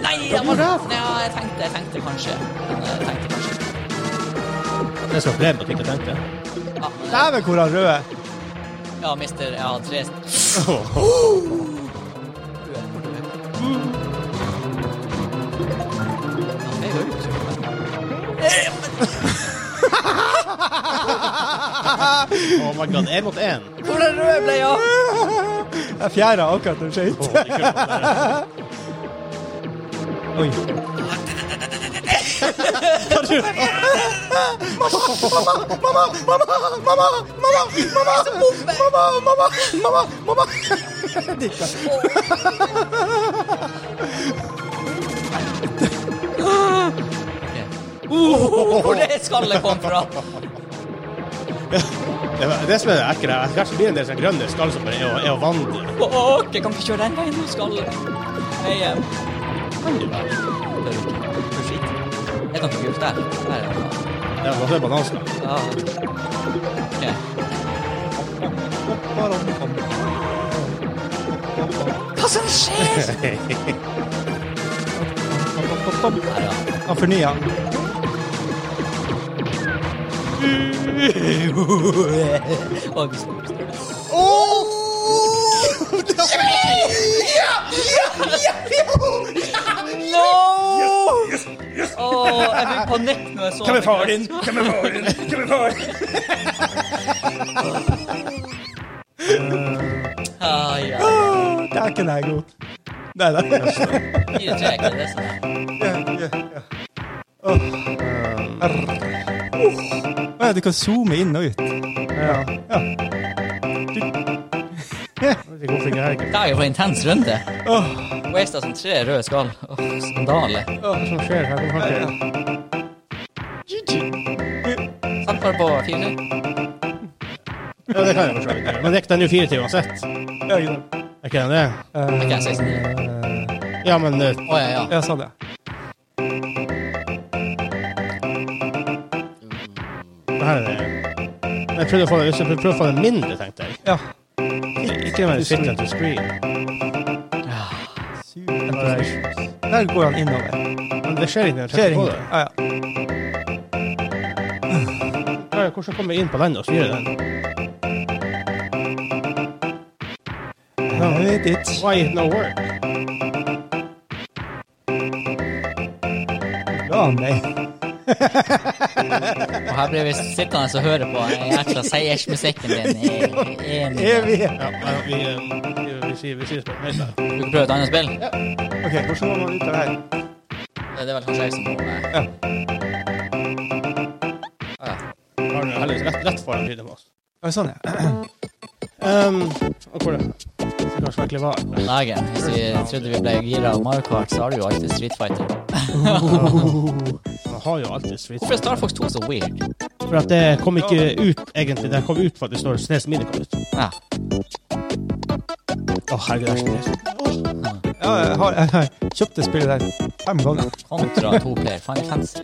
D: Nei, jeg, var, ja, jeg, tenkte, jeg tenkte kanskje. Men Jeg tenkte kanskje.
C: Det er så pleb at jeg ikke tenkte.
D: Ja, men-
B: Dæven, hvor han rød er.
D: Ja, mister, jeg har tre st- Ja, det er jo ut.
C: Oh my god, én mot én.
D: Hvor er rød ble jeg?
B: Jeg fjæra akkurat den skøyt. Oi.
D: Oh, hvor det skallet kom fra?
C: Det er det som er det ekle. Jeg skal kanskje bli en del sånn grønne skall som bare er å- er å vandre.
D: Åh, jeg kan ikke kjøre den veien nå, skallet. Hei, eh,
C: Kan du være?
D: det er jo ikke- det er skitt. Jeg kan ikke gjøre det der. Der er det.
C: Det er også en bananskall.
D: Ja. Ok. Hva som skjer? Her, ja.
B: Han fornya.
D: Å, vi skal oppstå. No! Å, jeg fikk panikk når jeg så det.
C: Hvem er faren din? Hvem er faren din?
D: Ah, ja.
B: Dæken er god. Nei da.
D: Fire trekk, det er sånn.
B: Ja, du kan zoome inn og ut.
D: Det er jo for en intens runde.
B: Åh.
D: Wasta som tre røde skall. Åh, skandale. Satt bare på fire.
C: Ja, det kan jeg for så vidt gjøre. Men rekk den jo fire til uansett.
B: Ja, ikke sant.
C: Er ikke den det?
D: Ok, 69.
C: Ja, men eh,
D: Å, ja, ja.
B: Ja, sånn, ja.
C: det her er det. Jeg prøvde å få den, jeg prøvde å få den mindre, tenkte jeg.
B: ja.
C: Ikke den der sit and to screen.
B: Der går han innover.
C: Men det skjer ikke når jeg
B: Skjer
C: trykker på
B: ingenting.
C: det.
B: Ja, ja.
C: Ja, ja, Hvordan kommer jeg inn på den og styrer den?
B: Jeg vet ikke.
C: Why it no work?
B: Ja, nei.
D: Og her blir vi sittende og høre på den jækla seiersmusikken din i en
B: Evig.
C: Ja, ja, vi, eh, vi, vi sier vi sier spørsmål. Nei, nei.
D: Skal vi prøve et annet spill?
B: OK, hvordan går man ut av det her?
D: Det er vel kanskje jeg som må eh,
B: Ja.
D: ah, ja.
C: Har du heldigvis rett, rett foran lyden på oss?
B: Ja, sånn, ja.
C: Um, og hvor er det? Det er kanskje virkelig var.
D: Dagen. Hvis vi trodde vi ble gira av Mario Kart, så har du jo alltid Street Fighter.
C: Man har jo alltid svitt.
D: Hvorfor er Star Fox 2 så weird?
C: For at det kom ikke ut, egentlig. Det kom ut for at det står Snes Mini kom ut.
D: Ja.
C: Å, herregud, det er så trist.
B: Ja, jeg har, jeg har kjøpt det spillet der fem ganger.
D: Kontra to player. Final Fantasy.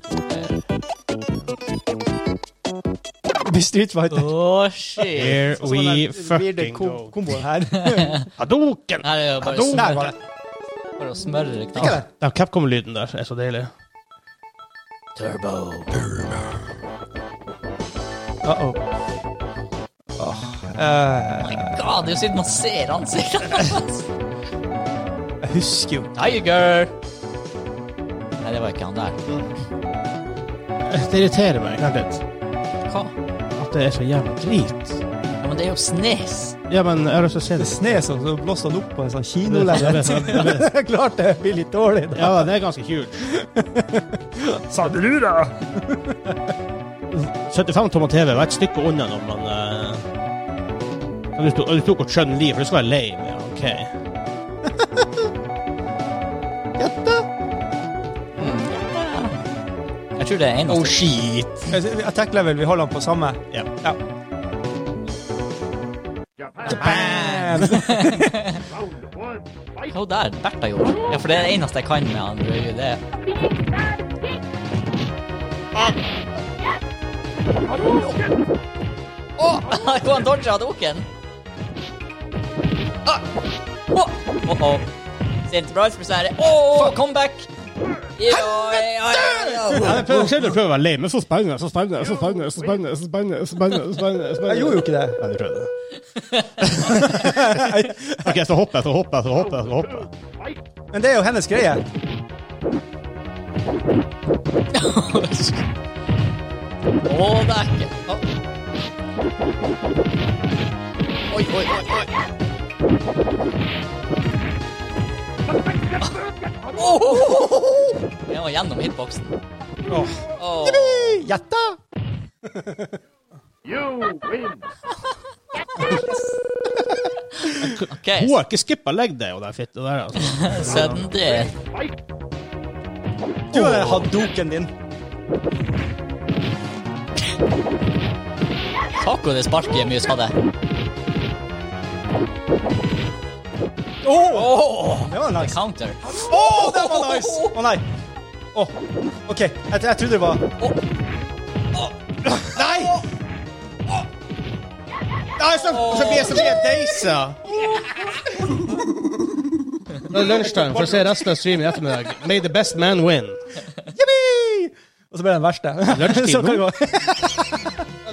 B: Det blir Street Fighter. Sånn,
D: Å, shit.
C: Here we
B: det
C: fucking
B: kom-
C: go.
B: komboen her.
C: Hadoken!
D: Her er jo bare å
B: Der var det.
D: smøre, bare å smøre
B: Ikke
D: knall.
B: det?
C: Den Capcom-lyden der er så deilig.
D: Turbo.
B: Uh-oh. Åh, eh,
D: God, det er jo siden man ser ansiktet hans.
B: jeg husker jo
D: Tiger! Nei, det var ikke han der.
C: Det irriterer meg helt litt
D: Hva?
C: at det er så jævla drit.
D: Ja, men det er jo Snes.
C: Ja, men jeg har lyst til å se
B: det
C: det.
B: sne som så blåste han opp på en sånn
C: Jeg
B: kinolevende.
C: vet, jeg vet, jeg vet.
B: Klart det blir litt dårlig. da.
C: Ja, det er ganske huge.
B: Sa du da?
C: 75 tommer TV var et stykke unna når man eh, du, tok, du tok og skjønner livet, for det skal være lame. Ja, OK.
D: Jeg tror det er
B: Oh,
D: eneste.
C: shit!
B: Attack level, vi holder han på samme.
C: Ja.
B: Ja.
D: Hva der? Bertha gjorde. Ja, for det er det eneste jeg kan med han. Det er jo det. Å! Jo, han dodget av doken. Ah! Å! Å, å. Ser ikke bra ut for seg. Å, å, comeback! Ja, ja, ja, ja.
C: Jeg prøver, skjønner du prøver å være lame, men så sprang jeg, så sprang jeg, så sprang jeg, så sprang jeg, så sprang jeg, så sprang jeg, så sprang jeg, så sprang
B: Jeg gjorde jo ikke det.
C: Ja, du prøvde. OK, så hopper jeg, så hopper jeg, så hopper jeg. så hopper jeg.
B: Men det er jo hennes greie.
D: Å, det er ikke Å. Oi, oi, oi, oi. Åh! Jeg var gjennom hitboksen. Åh.
B: Gjetta!
D: OK,
C: Hun har ikke skippa leg day og den fitta der, altså.
D: sudden death.
B: Du har hadoken din.
D: Taco det sparket Mus hadde.
B: Åh,
D: Åh!
B: det var nice.
D: Counter.
B: Å, det var nice! Å nei. Åh, OK. Jeg, jeg trodde det var
C: Nei! Nei, så, så blir jeg så blir jeg deisa. Det er lunsjtime for å se resten av streamen i ettermiddag. May the best man win.
B: Yippee! Og så ble det den verste.
C: Lunsjtid
B: Så kan det
C: nå?
B: gå.
C: Ja,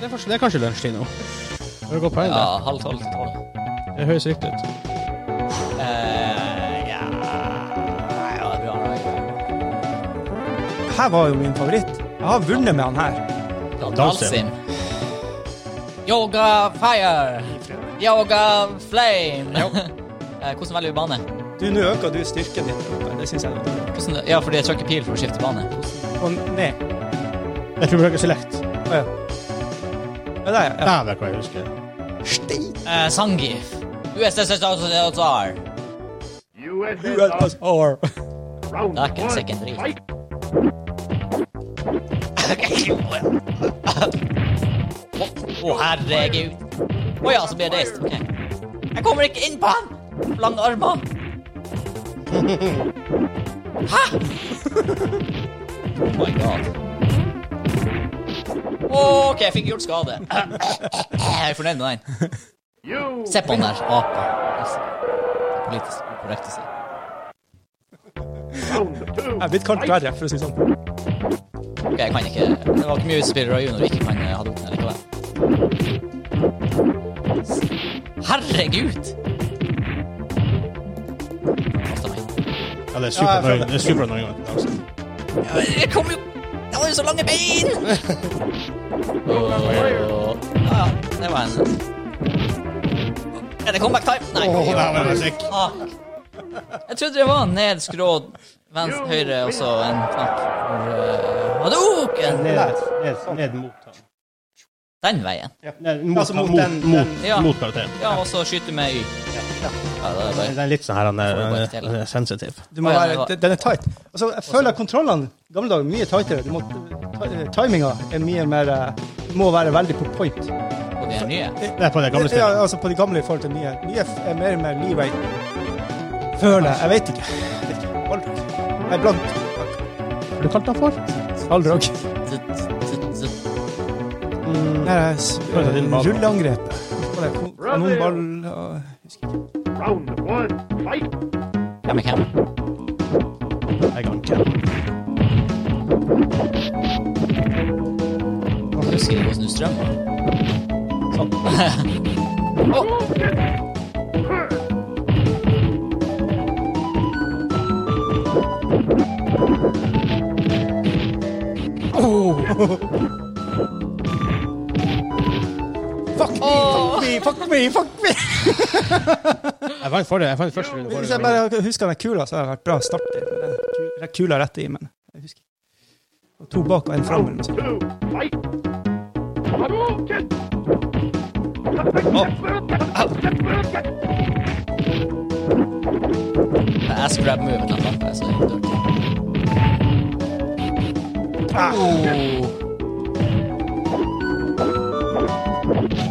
C: det, er faktisk, det er kanskje lunsjtid nå. Det er et godt poeng,
D: Ja,
C: det.
D: halv tolv til tolv.
C: Det høres riktig ut.
D: Eh, ja. ja, det er bra.
B: Her var jo min favoritt. Jeg har vunnet med han her.
D: Da
C: Dalsim.
D: Dalsim. Yoga fire. Yoga flame. Eh, Hvordan velger vi bane?
B: Du, Nå øker du styrken din. Det syns jeg. er dårlig.
D: Hvordan, ja, fordi jeg trykker pil for å skifte bane. Hvordan-
B: Og ned.
C: Jeg tror vi bruker select.
B: Å ja. Ja, der, ja.
C: Dæven, hva jeg husker.
D: Eh, Sangif. USSR.
B: USS R.
D: Det er ikke en second drit. Å, herregud. Å ja, så blir jeg reist. Ok. Jeg kommer ikke inn på han! Lange armer. Hæ?! Oh my god. OK, jeg fikk gjort skade. Jeg er fornøyd med den. Se på han der apa. Politisk ukorrekt å si.
B: Jeg er blitt kalt verre, for å si det sånn.
D: Ok, jeg kan ikke Det var ikke mye utspillere av Juno vi ikke kan eh, ha dumt likevel. Herregud! Kastet meg.
C: Ja, det er
B: Ja, jeg
C: super
B: føler
C: det er super annoying. altså.
D: Jeg kom jo Jeg har jo så lange bein! Åh. Ja, ja, det var en Er det comeback time? Nei.
C: Åh, der var jeg sick.
D: Fuck. Jeg trodde det var ned, skrå, venstre, høyre og så en knapp for eh, Hadoken!
C: Ned, ned, ned mot han.
D: Den veien.
C: Ned, mot,
B: Altså,
C: han,
B: mot
C: mot,
B: den-
C: mot,
D: Ja.
C: mot karakteren.
D: Ja, og så skyter med Y. Ja, det er
C: Den
D: bare
C: er litt sånn her, han er,
D: Får jeg bare
C: han er sensitiv.
B: Du må
D: Å, ja,
B: være,
D: det var-
B: den er tight. Altså, jeg føler kontrollene gamle dager mye tightere. Du må, ti- timinga er mye mer eh, Må være veldig på point.
D: Og de er nye.
C: Det er på det gamle
B: Ja,
C: stedet.
B: altså på de gamle i forhold til nye. Nye f- er mer og mer leeway. Føler jeg. Jeg vet ikke. Jeg vet ikke. Ballrock. Nei, blank.
C: Har du kalt han for?
B: Ballrock.
D: Zut, zut, zut.
B: Mm, Nei, det er s-
C: Føler jeg din ballrock.
B: rulleangrepet. Hva er det? Kon- Kanonball ja, husker ikke.
D: Hvem er hvem?
C: Jeg kan ikke.
D: husker å snu strøm. Sånn. Å!
E: Fuck me, fuck me, fuck me!
C: Jeg vant forrige. Jeg vant første runde
B: Hvis
C: forrige.
B: jeg bare husker den kula, så har det vært bra start. i. Det er Kula rett i, men jeg husker ikke. Og To bak og en fram. eller noe sånt.
D: Det er ass grab move eller noe sånt. Det er så helt dårlig.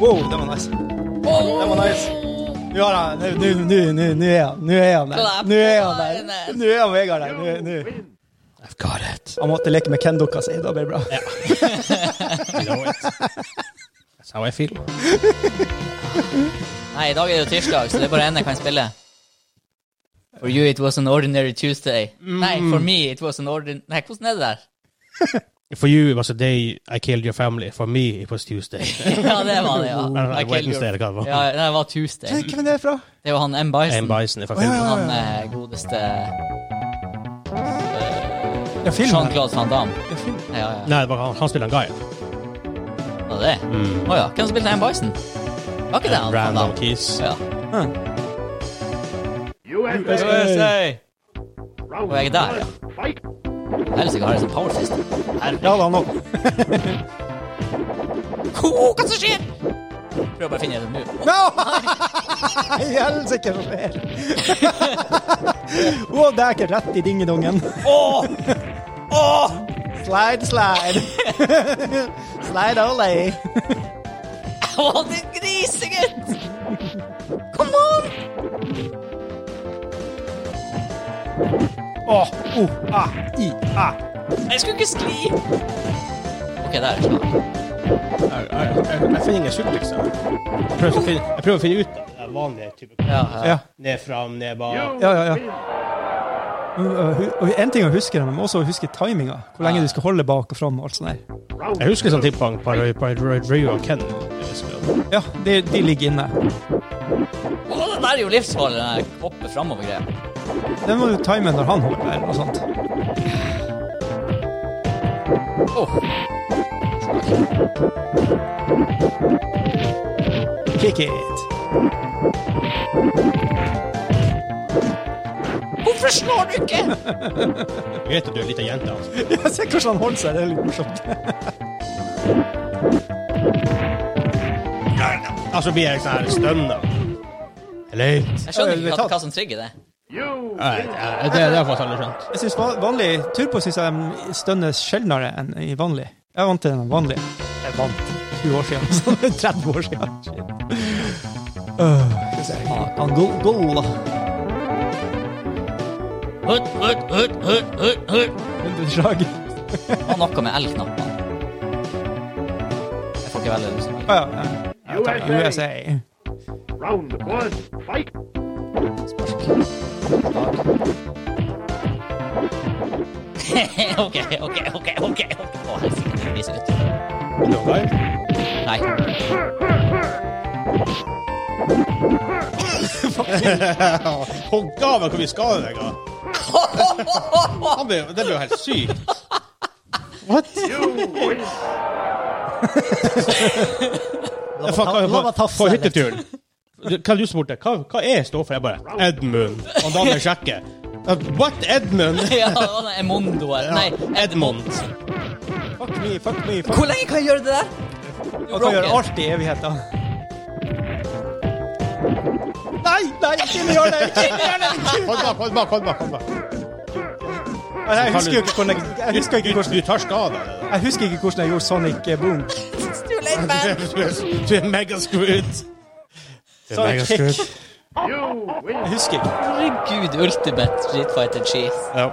B: Wow, det var nice. Det var nice. Ja da, nå- nå- nå- nå- nå er han Nå er han der. Nå er han der. Nå er han Vegard der. Nå- nå.
D: I've got it.
B: Han måtte leke med Ken-dukka si. Da ble det bra.
C: Know it. That's how I feel.
D: Nei, i dag er det jo tirsdag, så det er bare en jeg kan spille. For you it was an ordinary Tuesday. Nei, for me it was an ordinary... Nei, hvordan er det der?
C: For you it was a day I killed your family. For me it was Tuesday.
D: Ja, det var det, ja.
C: Eller,
D: I killed
C: Wednesday,
D: your-
C: eller hva det var.
D: Ja, nei, det var Tuesday.
B: Eh, Hvem er det fra?
D: Det var han M. Bison.
C: I'm bison if I
B: Å, ja,
C: feel
B: ja,
D: Han
B: ja.
D: eh, godeste
B: Ja, filmen.
D: Jean-Claude van Damme.
B: Ja, filmen.
D: Ja, ja.
C: Nei, det var han, han spiller en guy.
D: Var det det? Å ja. Hvem spilte M. Bison? Var ikke det han van
C: Random
D: Damme?
C: keys.
D: Ja.
B: USA!
D: Og jeg er der, ja. Helsike, har jeg sånn powerfist?
B: Eh, Ja da, nå.
D: Hva som skjer? Prøv bare å finne en move.
B: Nei, helsike, hva skjer? Å, det er ikke rett i dingedongen.
D: Åh! Åh!
B: Slide, slide. Slide only.
D: Å, din grisegutt! Kom on!
B: Å, o, a, i, a.
D: Jeg skulle ikke skli. Ok, der er jeg klar.
C: Jeg, jeg, jeg, jeg finner ingen sutt, liksom. Jeg prøver, å finne, jeg prøver å finne ut av den vanlige typen.
D: Ja, ja.
B: Ja.
C: Ned, fram, ned, bak.
B: Ja, ja, ja. Men, uh, hu- Og en ting å huske, men man må også huske timinga. Hvor lenge du skal holde bak og fram og alt sånt der.
C: Jeg husker sånn tippang på Ryu og Ken.
B: Ja, de, de ligger inne.
D: Å, det der er jo livsfarlig, den der hoppe framover-greia.
B: Den må du time når han hopper og sånt.
D: Åh,
B: Kick it.
D: Hvorfor slår du ikke?
C: Jeg vet at du er en liten jente. Altså.
B: Ja, se hvordan han holder seg. Det er litt morsomt.
C: altså blir jeg sånn her stønna. Eller?
D: Jeg
B: Ja,
D: skjønner ikke hva, hva som trigger det.
C: Nei, det, det har jeg faktisk aldri skjønt.
B: Jeg synes van- vanlig turbo synes jeg de stønner sjeldnere enn i vanlig. Jeg er vant til den vanlige. Jeg vant 20 år siden. Så det er 30 år siden. Shit. Øh, skal vi se. Han goal, goal, da.
D: Hutt, hutt, hutt, hutt, hutt, hutt.
B: Underslag.
D: Han noe med L-knappen. Jeg får ikke velge det. liksom.
B: Ah, ja, ja. Jeg tar USA.
F: Round one, fight!
D: ok, ok, ok, ok. ok. Å, helsike, det blir så godt.
C: Er du en guy?
D: Nei.
C: Hogg av meg hvor vi skader deg, da. Han ble, det ble jo helt sykt. Jeg fucka
E: la
C: jo
E: meg
C: på,
E: tafse
C: på
E: deg litt.
C: hytteturen. Du- Hva du spurte hva, hva er stå for? Jeg bare Edmund. Og da må jeg sjekke. Uh, What Edmund?
D: Ja, det var den Emondo her. Nei,
C: Edmund.
B: Fuck me, fuck me. Fuck.
D: Hvor lenge kan jeg gjøre det der?
B: Og kan gjøre alt i evigheten. Nei, nei, ikke gjør det! Ikke gjør det!
C: Hold bak, hold bak. hold bak, hold bak.
B: Jeg husker jo ikke hvordan jeg, jeg, husker ikke
C: Du,
B: hvordan,
C: du tar skade av det. da.
B: jeg husker ikke hvordan jeg gjorde Sonic eh, Boom.
D: It's too late, man.
C: Du er- Du er megascrewed.
B: Sonic Kick. Jeg husker ikke.
D: Herregud, Ultimate Street Fighter Chief.
C: Ja.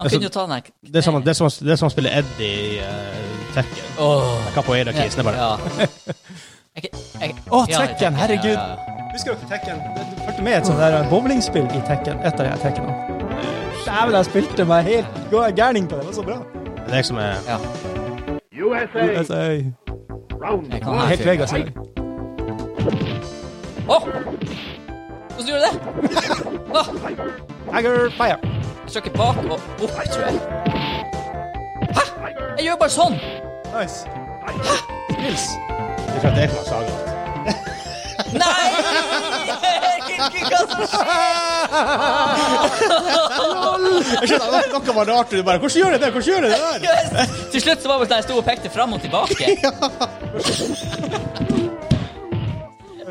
D: Han kunne jo ta den her.
C: Det er som det er som- det er som å spille Eddie i uh, Tekken.
D: Åh.
C: Capoeira-kisen er bare
D: Ja. Jeg- jeg-
B: Å,
D: ja,
B: Tekken, herregud.
D: ja, ja.
B: Husker dere Tekken? Du fulgte med et sånt der eh, bowlingspill i Tekken. Et av de her Tekkenene. Dæven, jeg spilte meg helt gå- gærning på det. Det var så bra.
C: Det er liksom eh,
D: Ja.
F: USA!
B: Altså, jeg-
F: Round
D: Jeg
F: one.
D: kan
B: Helt Vegas i dag.
D: Å! Hvordan gjorde du det? Åh,
B: Agger fire.
D: jeg trykker bak og opp, tror jeg. Hæ? Jeg gjør bare sånn!
B: Nice.
C: Nils. Det er fra deg som har saga alt.
D: Nei! altså.
C: Jeg skjønner, no- Noe var rart. Du bare Hvordan gjør jeg det? Hvordan gjør jeg det der?
D: Til slutt så var det sånn at jeg sto og pekte fram og tilbake.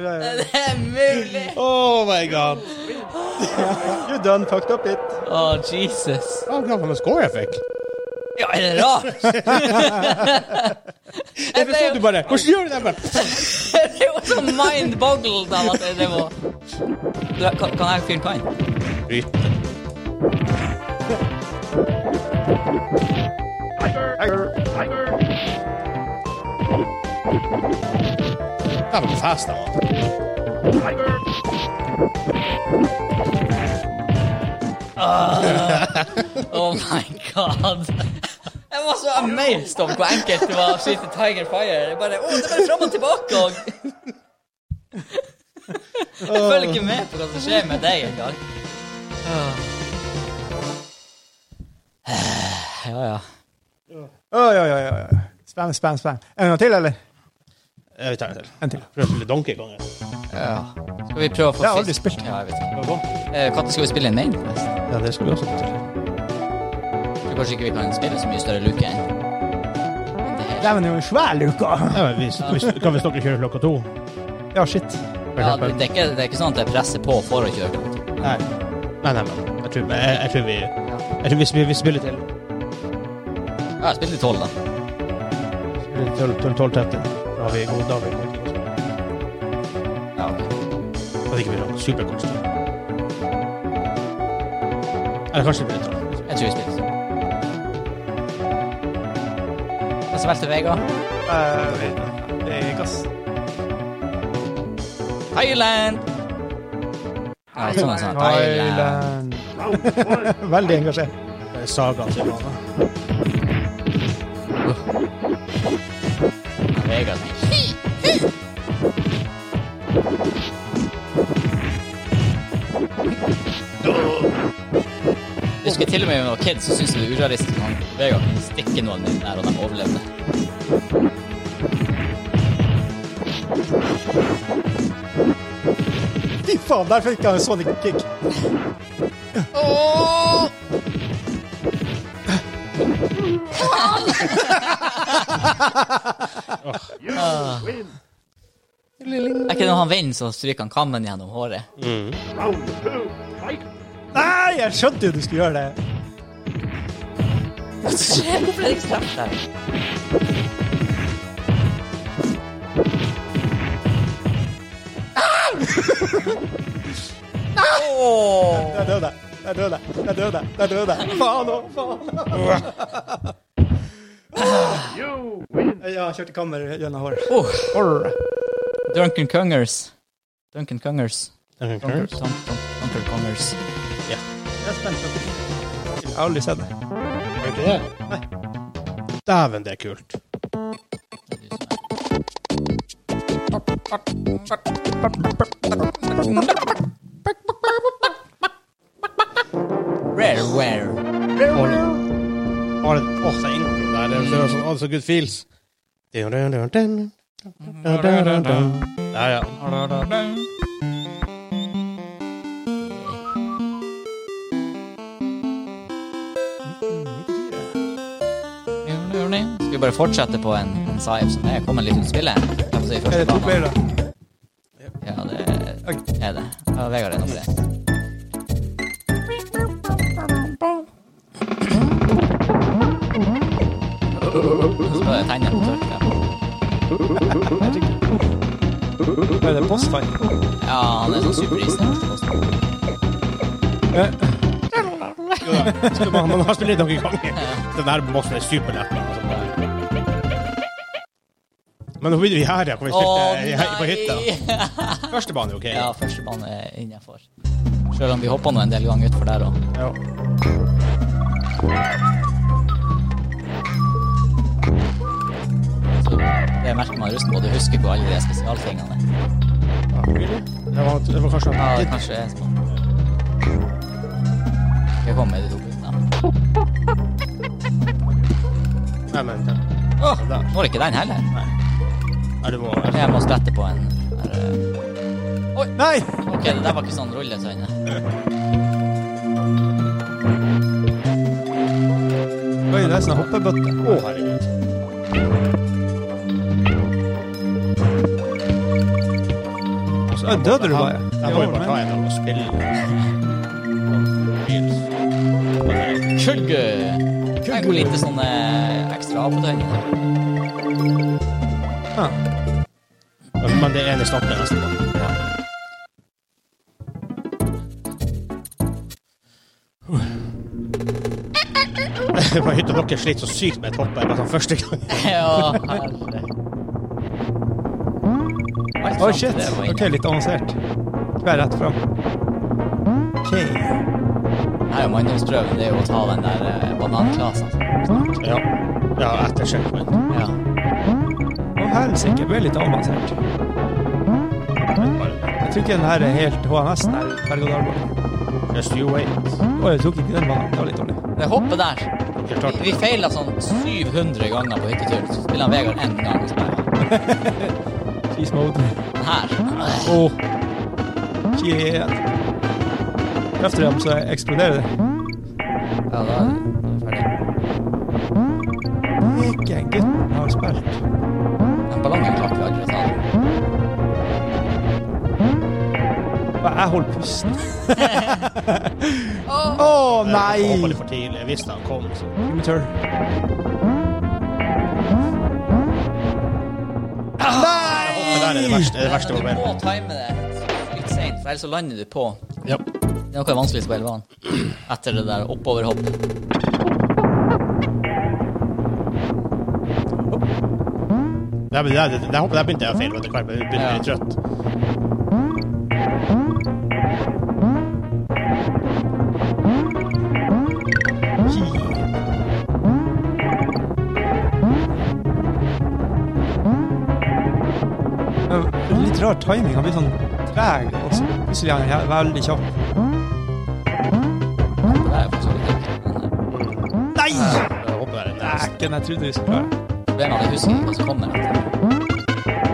D: Det er mulig!
C: Oh my god.
B: You done fucked up it.
D: Å, Jesus.
C: Jeg er glad for meg score jeg fikk.
D: Ja, er det rart? Jeg ble
C: Så
D: jo-
C: du bare Hvordan gjør du det? Jeg bare,
D: jeg ble jo så mind-boggled av at det var Du, Kan, kan jeg fyren kaien?
C: Bryte. Det var fast, da.
D: Oh my god. Jeg var så amazed om hvor enkelt det var å skyte Tiger Fire. Jeg bare, oh, det er bare fram og tilbake og Jeg følger ikke med på hva som skjer med deg engang. Åh. Ja, ja.
B: Oi, oi, oi. oi. Spam, spam, spam. En gang til, eller?
C: Jeg tar en til.
B: En til.
C: Prøv å spille Donkey Kong. jeg.
D: Skal vi prøve å få
B: Jeg har aldri spilt.
D: Ja, jeg vet ikke.
C: Prøv på.
D: Eh, Katte, skal vi spille en main?
B: Ja, det skal vi også få til.
D: Tror kanskje ikke vi kan spille så mye større luke enn det her.
B: Dæven, det er jo en svær luke.
C: Ja, men hvis- hvis- Kan vi snakke kjøre klokka to?
B: Ja, shit.
C: for
D: Ja,
C: eksempel?
D: det, er ikke, det er ikke sånn at jeg presser på for å kjøre.
C: Nei. Nei, nei, men jeg tror, jeg, jeg tror vi Jeg tror vi, vi, vi spiller til
D: Ja, jeg spilte i tolv, da.
C: spiller til 12 12 13. Da har vi god da har vi god tid.
D: Ja, ok.
C: Og ikke blir noe superkort. Eller kanskje det blir litt
D: Jeg tror vi spilte. Hva som helst til Vegard?
B: Eh, gass.
D: Thailand! Ja, sånn er sånn. Thailand.
B: Thailand.
F: Round one.
B: Veldig engasjert.
C: sånn Saga til bane.
D: Vegard. Jeg husker til og med da jeg var kid, så syntes jeg det var urealistisk at han Vegard kunne stikke noen inn der, og de overlevde.
B: Fy faen, der fikk jeg en sonic kick.
F: You win.
D: Er ikke det når han vinner, så stryker han kammen gjennom håret?
F: Round two. Fight.
B: Nei, jeg skjønte jo du skulle gjøre det.
D: Hva skjer? Hvorfor er det ikke straff der?
B: Der døde jeg. Der døde jeg. Der døde jeg. Der døde jeg. Faen òg, faen.
F: You win.
B: Ja, han kjørte kammer gjennom håret.
D: Oh,
B: Orr.
D: Duncan Kungers. Duncan Kungers. Duncan
C: Curse.
D: Kungers.
B: Jeg er spent. Jeg har aldri sett det.
C: Er ikke det? Nei. Dæven, det er kult.
D: Rare, rare.
C: Bare Å, så intro der. Det er- Det er sånn, å, så good feels. Dun, dun, dun, dun. Dun, dun, dun, dun. Ja, ja.
D: Skal vi bare fortsette på en, en saiv som er kommet litt ut i spillet? Jeg får si
B: Er
D: første
B: det to
D: banen.
B: flere, da?
D: Ja, det er det. Ja, Vegard er nå for det. Så skal jeg tegne på tørk, ja.
B: Er det postfight?
D: Ja, han er sånn superis. der.
C: Jo da. Skal Man, man har spilt Donkey Kong. Den der bossen er superlett. men altså, bare- Men nå blir vi her, ja. Kan vi sitte i- her på hytta? Første bane er OK.
D: Ja, første bane er innenfor. Selv om vi hoppa nå en del ganger utfor der også.
C: Ja.
D: Så Det merker man rusten på. Du husker på alle de spesialtingene.
C: Det var, det var kanskje
D: Ja, det kanskje er sånn. Jeg kom med de to guttene.
C: Nei, men det
D: Åh, nå er det ikke den heller.
C: Nei, det var
D: Jeg må slette på en her, eh.
E: Nei!
D: Ok, det der var ikke sånn rulletøyne.
B: Oi, det er sånn hoppebøtte.
C: Å, herregud.
B: Så, ja, døde du bare?
C: Jeg må jo bare ta en av og spille.
D: Kjølge! Jeg går litt sånn eh, ekstra av på døgnet.
C: Men det ene stopper nesten. Ja. Det var hytta dere slitt så sykt med et hopp her, bare sånn første gang.
D: Ja, herre.
B: Oi,
D: Alt sånt,
B: shit.
D: det var
B: Ok,
D: inne.
B: litt avansert. Vær rett fram. Ok.
D: Nei, jo, manndomsprøven det er jo å ta den der eh, bananklasen.
C: Ja, ja etter checkpoint.
D: Ja.
B: Å, helsike. det Ble litt avansert. Jeg tror ikke den her er helt HMS-en her. Berg-og-dal-bane.
C: Just you wait.
B: Å, jeg tok ikke den banen. Det var litt dårlig.
D: Det hoppet der.
C: Dere
D: Vi,
C: klarte
D: vi
C: det.
D: feila sånn 700 ganger på hytteturen. Så spiller han Vegard én gang. og så bare,
B: Cheese mode.
D: Den her.
B: Å. Shit. Treffer dem, så eksploderer det.
D: Ja, da er det ferdig.
B: Ikke en gutt har spilt.
D: Den ballongen klarte vi aldri å ta.
B: Og jeg holder pusten. Å
C: Jeg
B: nei!
C: håpet litt for tidlig. Jeg visste han kom. Så.
B: Return. Nei!
C: Det der er det verste, det verste
D: du må
C: momentet.
D: time det litt seint, for ellers så lander du på.
C: Ja.
D: Det er noe vanskelig å spille van etter det der oppoverhopp.
C: Det, her- det, her- det, her- det her begynte jeg å feile etter hvert. Jeg begynte å bli
D: Ja.
C: trøtt.
B: Det var Litt rar timing. Han blir sånn treg, og så plutselig er han her veldig kjapp.
D: Det der er faktisk litt ekkelt, men eh,
B: Nei!
C: Jeg håper det er en nest.
B: Dæken, jeg trodde vi skulle klare det.
D: problemet er at jeg husker ikke hva som kommer etter.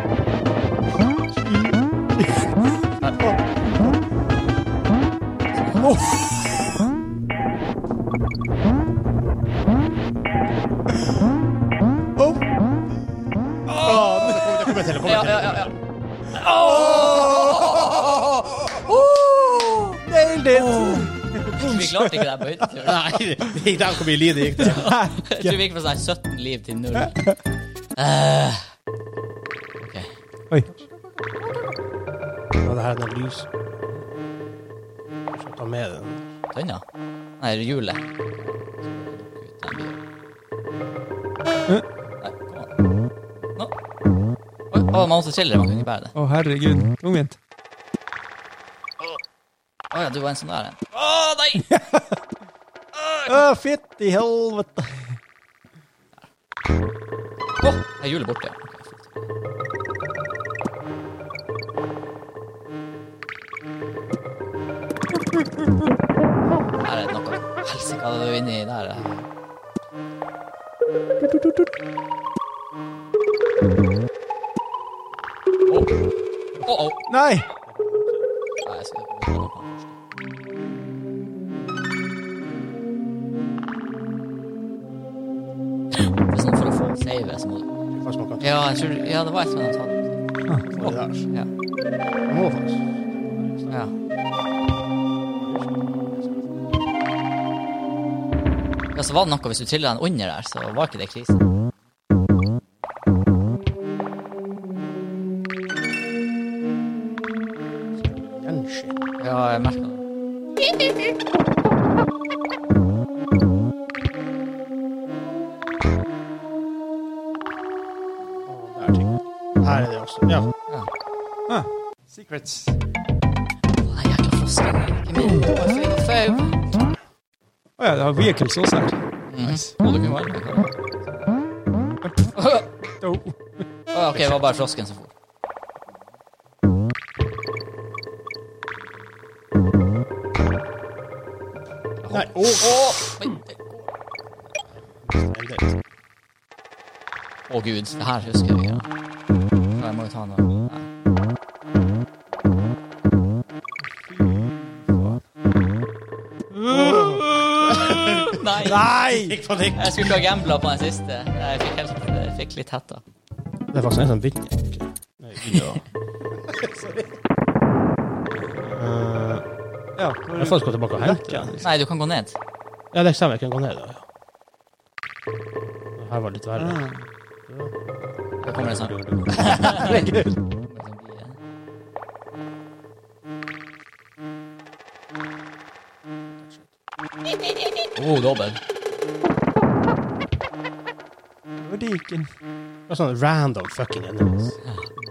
C: Det kommer til å komme
D: Ja,
C: til.
D: ja, ja, ja.
B: Nailed it!
D: Vi klarte ikke det her på hytteturen.
C: Nei, det gikk der hvor mye liv det gikk der.
D: Jeg tror vi gikk fra sånn 17 liv til null. Eh, ok.
B: Oi.
C: Ja, det her er den lys. Skal ta med den.
D: Tønna? Nei, hjulet.
B: Hæ?
D: Nei, kom an. Nå. Oi, å, man måtte chille, man kunne ikke bære det.
B: Å, herregud. Tungvint.
D: Å ja, du var en sånn der en. Å nei!
B: Å, fytti helvete.
D: Å, er hjulet borte? Ok, fint. Her er det noe Helsike, hva er du inni der? Å, å, å.
B: Nei!
D: Nei, jeg skal ikke ta den på først. Det er sånn for å få save, så må du
C: Fast man kan
D: ja, jeg tror, ja, det var et som de sa.
C: ta det der.
D: Ja.
C: Må faktisk.
D: ja. Ja, så var det noe hvis du trilla den under der, så var ikke det krise.
C: Kanskje.
D: Ja, jeg merka det.
C: Der, ting. Her er det også. Ja.
D: Ja.
B: Ah, Secrets.
D: Nei, jækla frosken. Ikke min. Det var fri og fau.
B: Å ja, det har vehicles også her.
D: Må du kunne være med, Karl?
B: Oh.
D: Å, Å, ok, det var bare frosken som for.
C: Nei, åh,
D: Å, men- Å, gud. Det her husker jeg. Ja. Ja, Jeg må jo ta noe. Nei. Nei!
C: Nei! Ikke panikk.
D: Jeg skulle ikke ha gambla på den siste. Jeg fikk, helt, jeg fikk litt hetta.
C: Det er faktisk en sånn vinner.
B: Ja,
C: Jeg får gå tilbake og hente den.
D: Nei, du kan gå ned.
C: Ja, det stemmer. Jeg kan gå ned, da. ja. Det her var litt verre.
D: Da kommer det sånn. Oh, dobbel.
B: Verdiken.
C: Det var sånn random fucking enemies.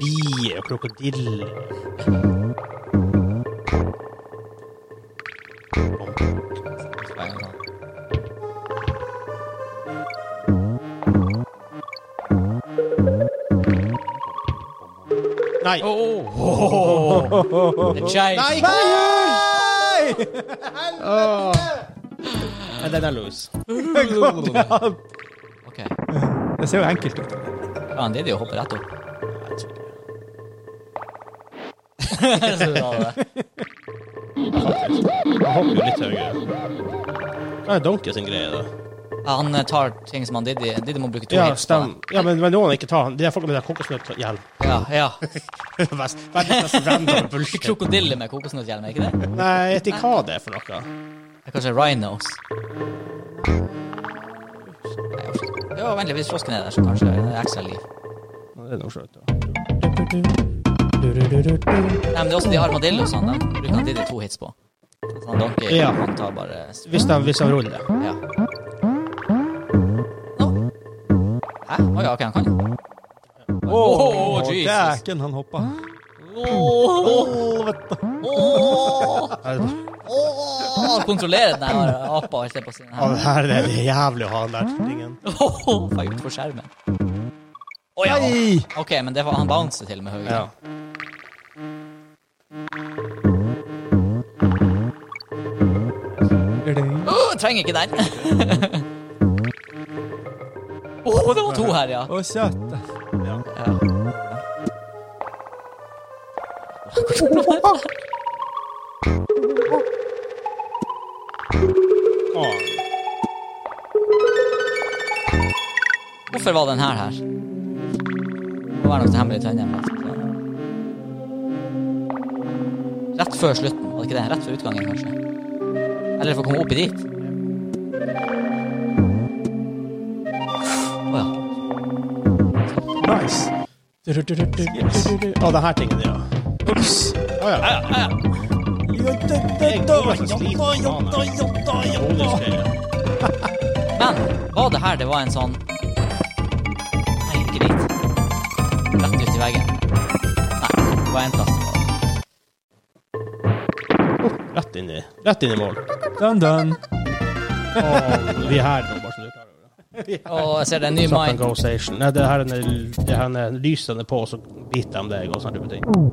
C: Bier og krokodiller. Nei!
D: The giant.
C: Oh. Nei! Nei! Helvete! Den er loose.
D: Ok,
B: Det ser jo enkelt ut.
D: faen, det er det å hoppe rett opp. Så bra det der.
C: Jeg hopper jo litt høyere. Hva er Donkey sin greie, da?
D: Ja, han eh, tar ting som han Diddy Diddy må bruke to
C: Ja,
D: hits på
C: stem. Ja, men, men noen ikke ta han. De der folka med den kokosnøtthjelm.
D: det. Ja, ja.
C: Verdens mest random
D: Ikke
C: bullshit.
D: krokodille med kokosnøtthjelm, er ikke det?
C: Nei, jeg vet ikke hva det er for noe.
D: Det er kanskje rhinos. Nei, jeg forstår ikke. Ja, vent litt, hvis frosken er der, så kanskje det er ekstra liv.
C: Det er noe skjønt, da.
D: Nei, men det er også de armadillosene. De bruker han Diddy to hits på. Så han Donkey,
C: Ja.
D: han tar bare s-
C: Hvis de, hvis de ruller.
D: Ja. Nå. Hæ? Å ja, OK, han kan. Åh, Jesus.
B: Dæken, han hoppa.
D: Åh, Åh, Kontrollerer den her apa, holdt jeg på å si. Den
C: Ja,
D: her.
C: det her er det jævlig å ha den der tingen.
D: Åh, Var utfor skjermen. Å ja. OK, men det var, han bouncer til og med høyere.
C: Ja.
D: Åh, trenger ikke den. Åh, det var to her, ja.
B: Å, søte.
D: ja.
C: Åh,
D: Hvorfor var den her her? Det må være noe hemmelig tegn. Rett før slutten, var det ikke det? Rett før utgangen, kanskje? Eller for å komme opp i dit? Å ja.
C: nice. Å, den her tingen, ja. Ups. Å ja. Jeg går så sliten på banen. Holy shit.
D: Men var det her det var en sånn Nei, ikke dit. Rett ut i veggen. Nei, det var en plass. det var.
C: Rett inn i, rett inn i mål.
B: Dun, dun.
C: Åh, vi er her nå, bare så du er klar over det.
D: Og jeg ser det er en ny
C: Stop and
D: mine.
C: go station. Nei, det her er, det her er lysene på, så biter de deg og sånne type ting.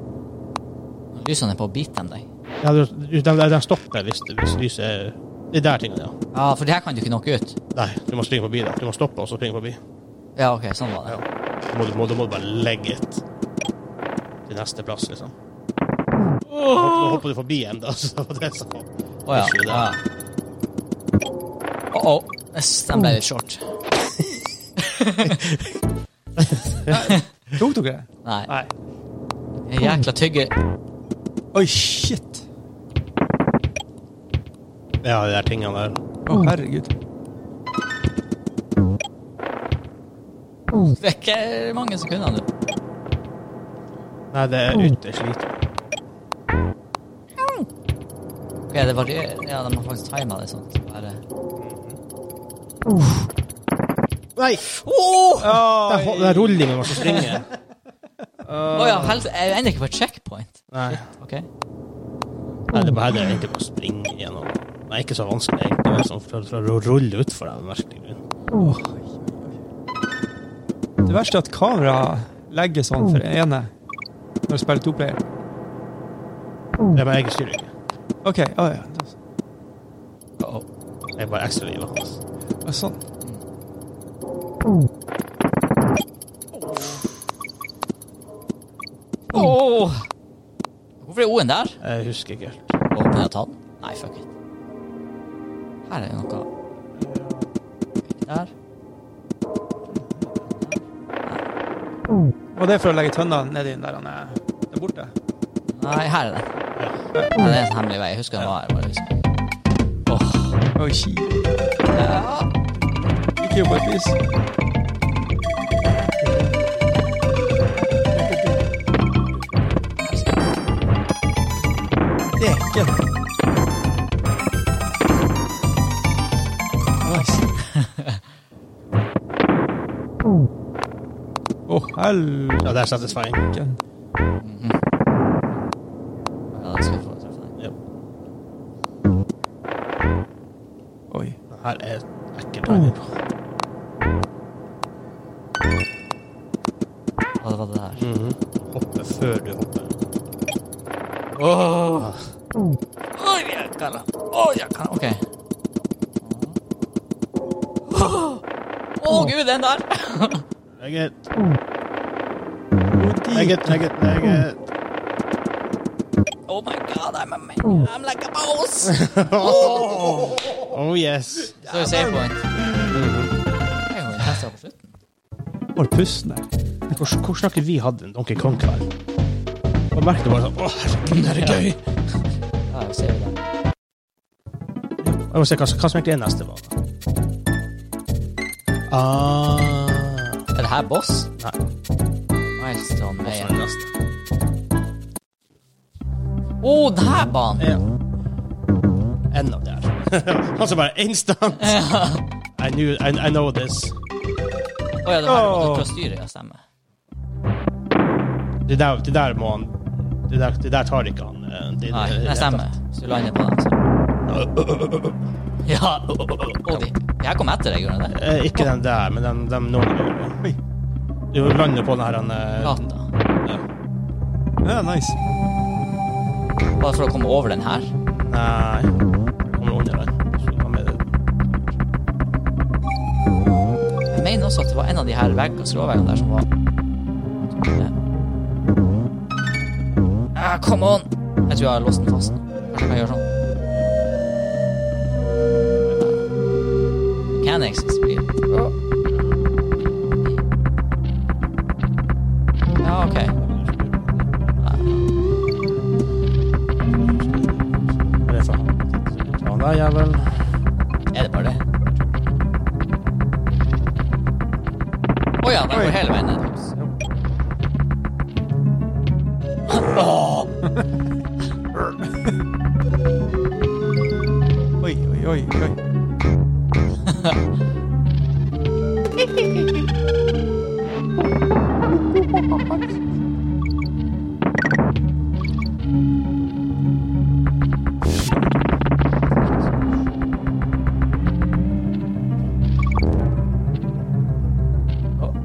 D: Lysene er på å bite dem, deg.
C: Ja, du- du- de, de stopper hvis, hvis lyset er Det er der tingene, ja.
D: Ja, for det her kan du ikke knocke ut.
C: Nei, du må springe forbi det. Du må stoppe og så springe forbi.
D: Ja, OK, sånn var det.
C: Du må, du må, du må bare legge it til neste plass, liksom. Nå hop- nå hopper du forbi en, da. Så det er så.
D: Å ja.
C: Ikke det.
D: Å ja. Å, å. Yes, den ble litt short.
B: Tok dere det?
D: Nei.
B: Nei.
D: En Jækla tygge.
B: Oi, shit.
C: Ja, de der tingene der.
B: Å, herregud.
D: Det er ikke mange sekunder nå.
C: Nei, det er ytterst lite.
D: Ok, det varierer. Ja, de har faktisk timet det sånn. Bare...
C: Nei!
D: Åh!
C: Den, ho- den rullingen var så springe.
D: Å ja, helse... Jeg er ennå ikke på checkpoint.
C: Nei.
D: OK.
C: Nei, det er bare det er egentlig bare å springe gjennom. Nei, ikke så vanskelig, egentlig. men Sånn, for, for å rulle utfor deg, merkelig grunn.
B: Det verste er at kameraet legge sånn for ene når du spiller to player?
C: Det er bare jeg styrer ikke.
B: OK. Å ja.
C: Det er bare ekstra livet hans.
B: Ja, Sånn.
D: Åh. Hvorfor er O-en der?
C: Jeg husker ikke helt.
D: Å, kan jeg ta den? Nei, fuck it. Her er det noe. Ikke Der.
B: Og det er for å legge tønna nedi der han er der borte.
D: Nei, her er den. Nei, det er en sånn hemmelig vei. Jeg husker den var her. Bare liksom.
B: Oi, shi. Ikke jo på et vis. Deken. Nice. Å,
C: Ja,
B: helvete.
C: det er satisfying.
D: Ja, da skal jeg få treffe den.
C: Ja.
B: Oi.
C: Det her er ekkelt å høre på.
D: Hva var det der?
C: Hoppe før du hopper.
D: Oi, jeg kan Oi, jeg kan OK. Å, gud, den der.
C: Meget. Meget, meget, meget.
D: Oh my god, I'm a man. I'm like a boss.
C: Oh yes.
D: Så vi ser på den. Det er jo en hest her på slutten.
B: Hvor pusten er.
C: Hvor, hvor snakker vi hadde en Donkey Kong-kveld? Og merket bare sånn Å, herregud, det er gøy!
D: Ja, vi ser jo den.
C: Jeg må se hva, som- hva som egentlig er neste bane. Ah.
D: Er det her boss?
C: Nei.
D: Milestone
C: hva som
D: Mayer.
C: er neste?
D: Å, oh, den her banen!
C: Ja. En av de her. Han som bare Instant! I, knew, I, I know this.
D: Å ja, den her måten å styre, ja, stemmer.
C: Det der, det der må han Det der, det der tar ikke han. eh, Det,
D: Nei,
C: det-
D: det stemmer. Hvis du lander på den, så Ja. Og de, de her kom etter deg, gjorde de det?
C: Eh, Ikke den der, men den, den noen Oi. Du lander på den her han, eh,
D: Plata.
C: ja.
B: Ja, nice.
D: Bare for å komme over den her.
C: Nei. Kommer under den. Så hva med det?
D: Jeg mener også at det var en av de her vegg- og skråveggene der som var Ah, come on! Jeg tror jeg har låst den fast. Kanskje jeg gjør sånn. Mechanics is weird. Ja, ok.
C: Hva er det for han? Ta han Sånn der, jævel.
D: Er det bare det? Å ja, den går hele veien ned.
B: Oi, oi, oi. oi.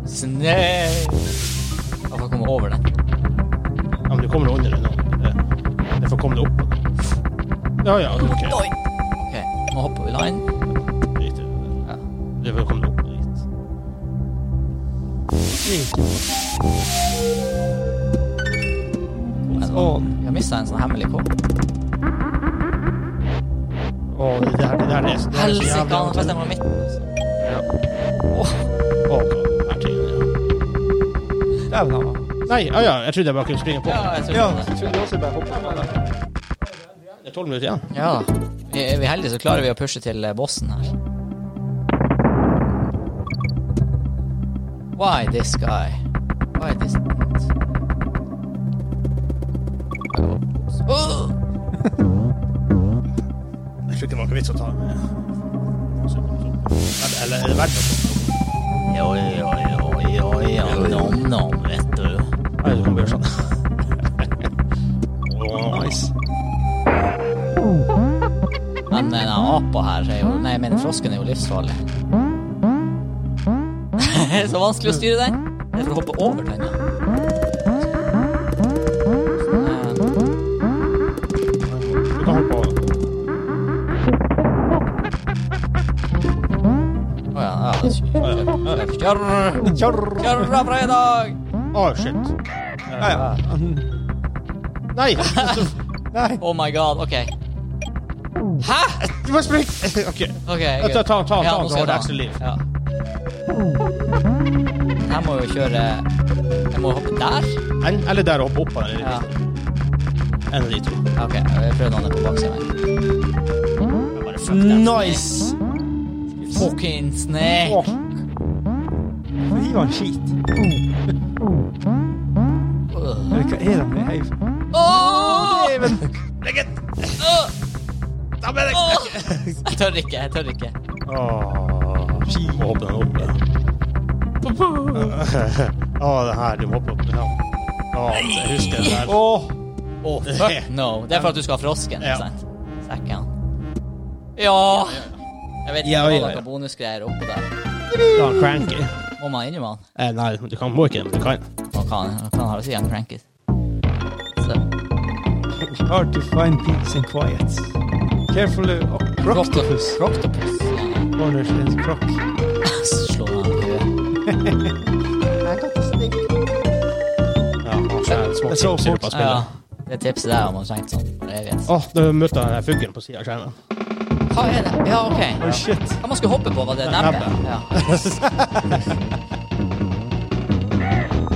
D: Snei! Bare for å komme over den.
C: Ja, men du kommer under den nå. Det- Det får komme deg opp på den. Ja, ja, ok.
D: Oi! Ok, nå hopper vi da inn.
C: Drit i det.
D: Ja.
C: Det får komme deg opp dit.
B: Sånn.
D: Vi har mista en sånn hemmelig kopp.
C: Å, det der, det der er det der er så
D: Helsike,
C: jævlig
D: han
C: vondt.
D: bestemmer midten. altså.
C: Ja. Å, god, her til, ja.
B: Dæven, han var
C: Nei, ja, ja, jeg trodde jeg bare kunne springe på.
D: Ja, jeg tror
B: Ja,
D: det.
B: jeg trodde også jeg bare hoppet.
C: Det er tolv minutter igjen.
D: Ja da. Vi- Er vi heldige, så klarer vi å pushe til eh, bossen her. Why this guy? Why this Åh!
C: Jeg tror ikke det var noe vits å ta den. Eller- Eller er det verdt det?
D: Oi, oi, oi, oi, oi, nom-nom, vet du.
C: Nei, du kan bare gjøre sånn. Å,
B: Nice.
D: Men eh, den apa her er jo Nei, jeg mener frosken er jo livsfarlig. Så vanskelig å styre den. Jeg får hoppe over den. da. Kjørr!
E: Kjørr.
D: Kjørra fredag!
C: Å, shit.
B: Ja, ja.
C: Nei!
D: Oh my god, ok. Hæ?!
C: Du må springe! OK.
D: Ok,
C: Ta, ta, ta, ta, ta,
D: Ja, nå
C: så har
D: skal jeg
C: du
D: ta.
C: ekstra liv.
D: Ja. Jeg må jo kjøre Jeg må hoppe der.
C: En- Eller der og hoppe opp på den.
D: Ja.
C: eller En av de to.
D: Ja, OK, jeg prøver noen på baksida her. Jeg bare fuck that
B: Nice!
D: snake. Fucking snake.
B: Hiv han skit. Eller hva er det med heiv?
D: Åh!
C: Legg it!
D: Åh!
C: Ta med deg!
D: Åh! Jeg tør ikke, jeg tør ikke.
C: Åh, Må hoppe den opp. ja. Åh, det her. Du må hoppe opp. Ja. Åh, jeg husker det der.
B: Åh!
D: Åh, fuck no. Det er for at du skal ha frosken,
C: Ja.
D: ikke sant? Sekken. Ja! Jeg vet ikke
C: Ja, ja,
D: om det var
C: ja.
D: noen bonusgreier oppå der.
C: Da er han cranky.
D: Må man innrømme han?
C: Eh, nei, du kan, må ikke det, men du kan.
D: Man kan, man kan ha det siden cranket. Så.
B: Hard to find peace and quiet. uh, oh, Carefully up Rocktopus.
D: Rocktopus.
B: Corners and croc.
D: Slå meg i huet.
C: Ja, han skjærer små
B: Jeg så
C: tipser
B: fort.
C: på
D: Ja,
C: spillet.
D: det tipset der har man trengt sånn for evighet.
C: Åh, da møtte jeg den fuglen på siden av skjermen.
D: Hva er det? Ja, OK.
B: Oh shit.
D: Hva man skulle hoppe på, var det nebbet?
C: Nebbet.
D: Ja.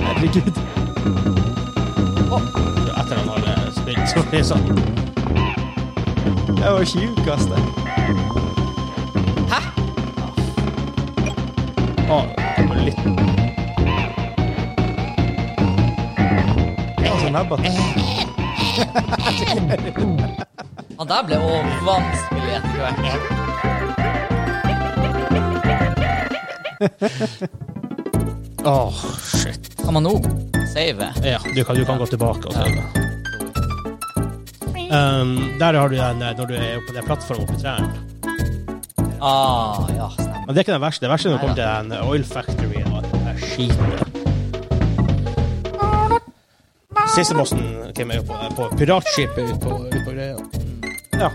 B: Herregud.
C: Etter han har eh, spilt, så blir det sånn.
B: Det var tjuvkast der.
C: Åh, det var litt...
B: Altså nebbet.
D: Han der ble også vanskelig etter hvert.
C: Åh, shit.
D: Kan man nå save?
C: Ja, du kan, du kan gå tilbake og se det. Um, der har du den eh, når du er på den plattformen oppe i trærne.
D: Ah, ja, stemmer.
C: Men det er ikke det verste. Det verste er når du kommer
D: Neida.
C: til den oil factory og alt det der skitet. Siste bossen hvem er jo på, på piratskipet ut på, ut på greia. Ja.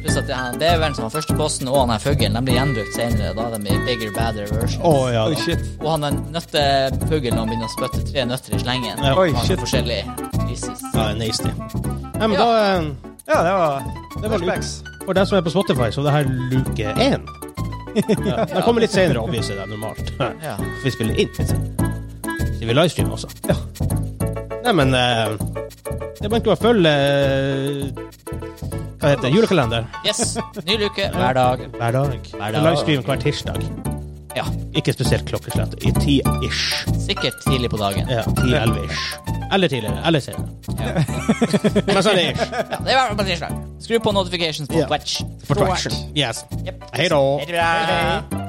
D: Pluss at det, her, det er vel som han første posten og han her fuglen, de blir gjenbrukt senere. Da er de i bigger, badder versions.
C: Å ja.
B: Oi,
C: da.
B: shit.
D: Og han den nøttefuglen han begynner å spytte tre nøtter i slengen.
C: Ja.
B: Oi,
D: Han har
B: shit.
D: Forskjellig. Jesus.
C: Ja, det er nasty. Nei, men
D: Ja.
C: da eh,
B: Ja, det var
C: det var
B: flashbacks.
C: luke. For deg som er på Spotify, så er det her luke én. Ja. Den kommer litt senere, obviously, det er normalt.
D: Ja.
C: Vi spiller inn. Så vi livestreamer også. Ja. Nei, men eh, Det er bare egentlig å følge eh, Hva heter det? Julekalender.
D: Yes. Ny luke hver dag.
C: Hver dag.
D: Hver dag.
C: Livestream hver tirsdag.
D: Ja.
C: Ikke spesielt klokkeslett. I ti-ish.
D: Sikkert tidlig på dagen.
C: Ja, ti-elleve-ish. Eller tidligere. Eller senere. Men så er det ish.
D: Ja, det er hver på tirsdag. Skru på notifications på
C: Ja.
D: Twitch.
C: For traction. Yes.
D: Yep.
C: Hei da.
D: Ha det bra.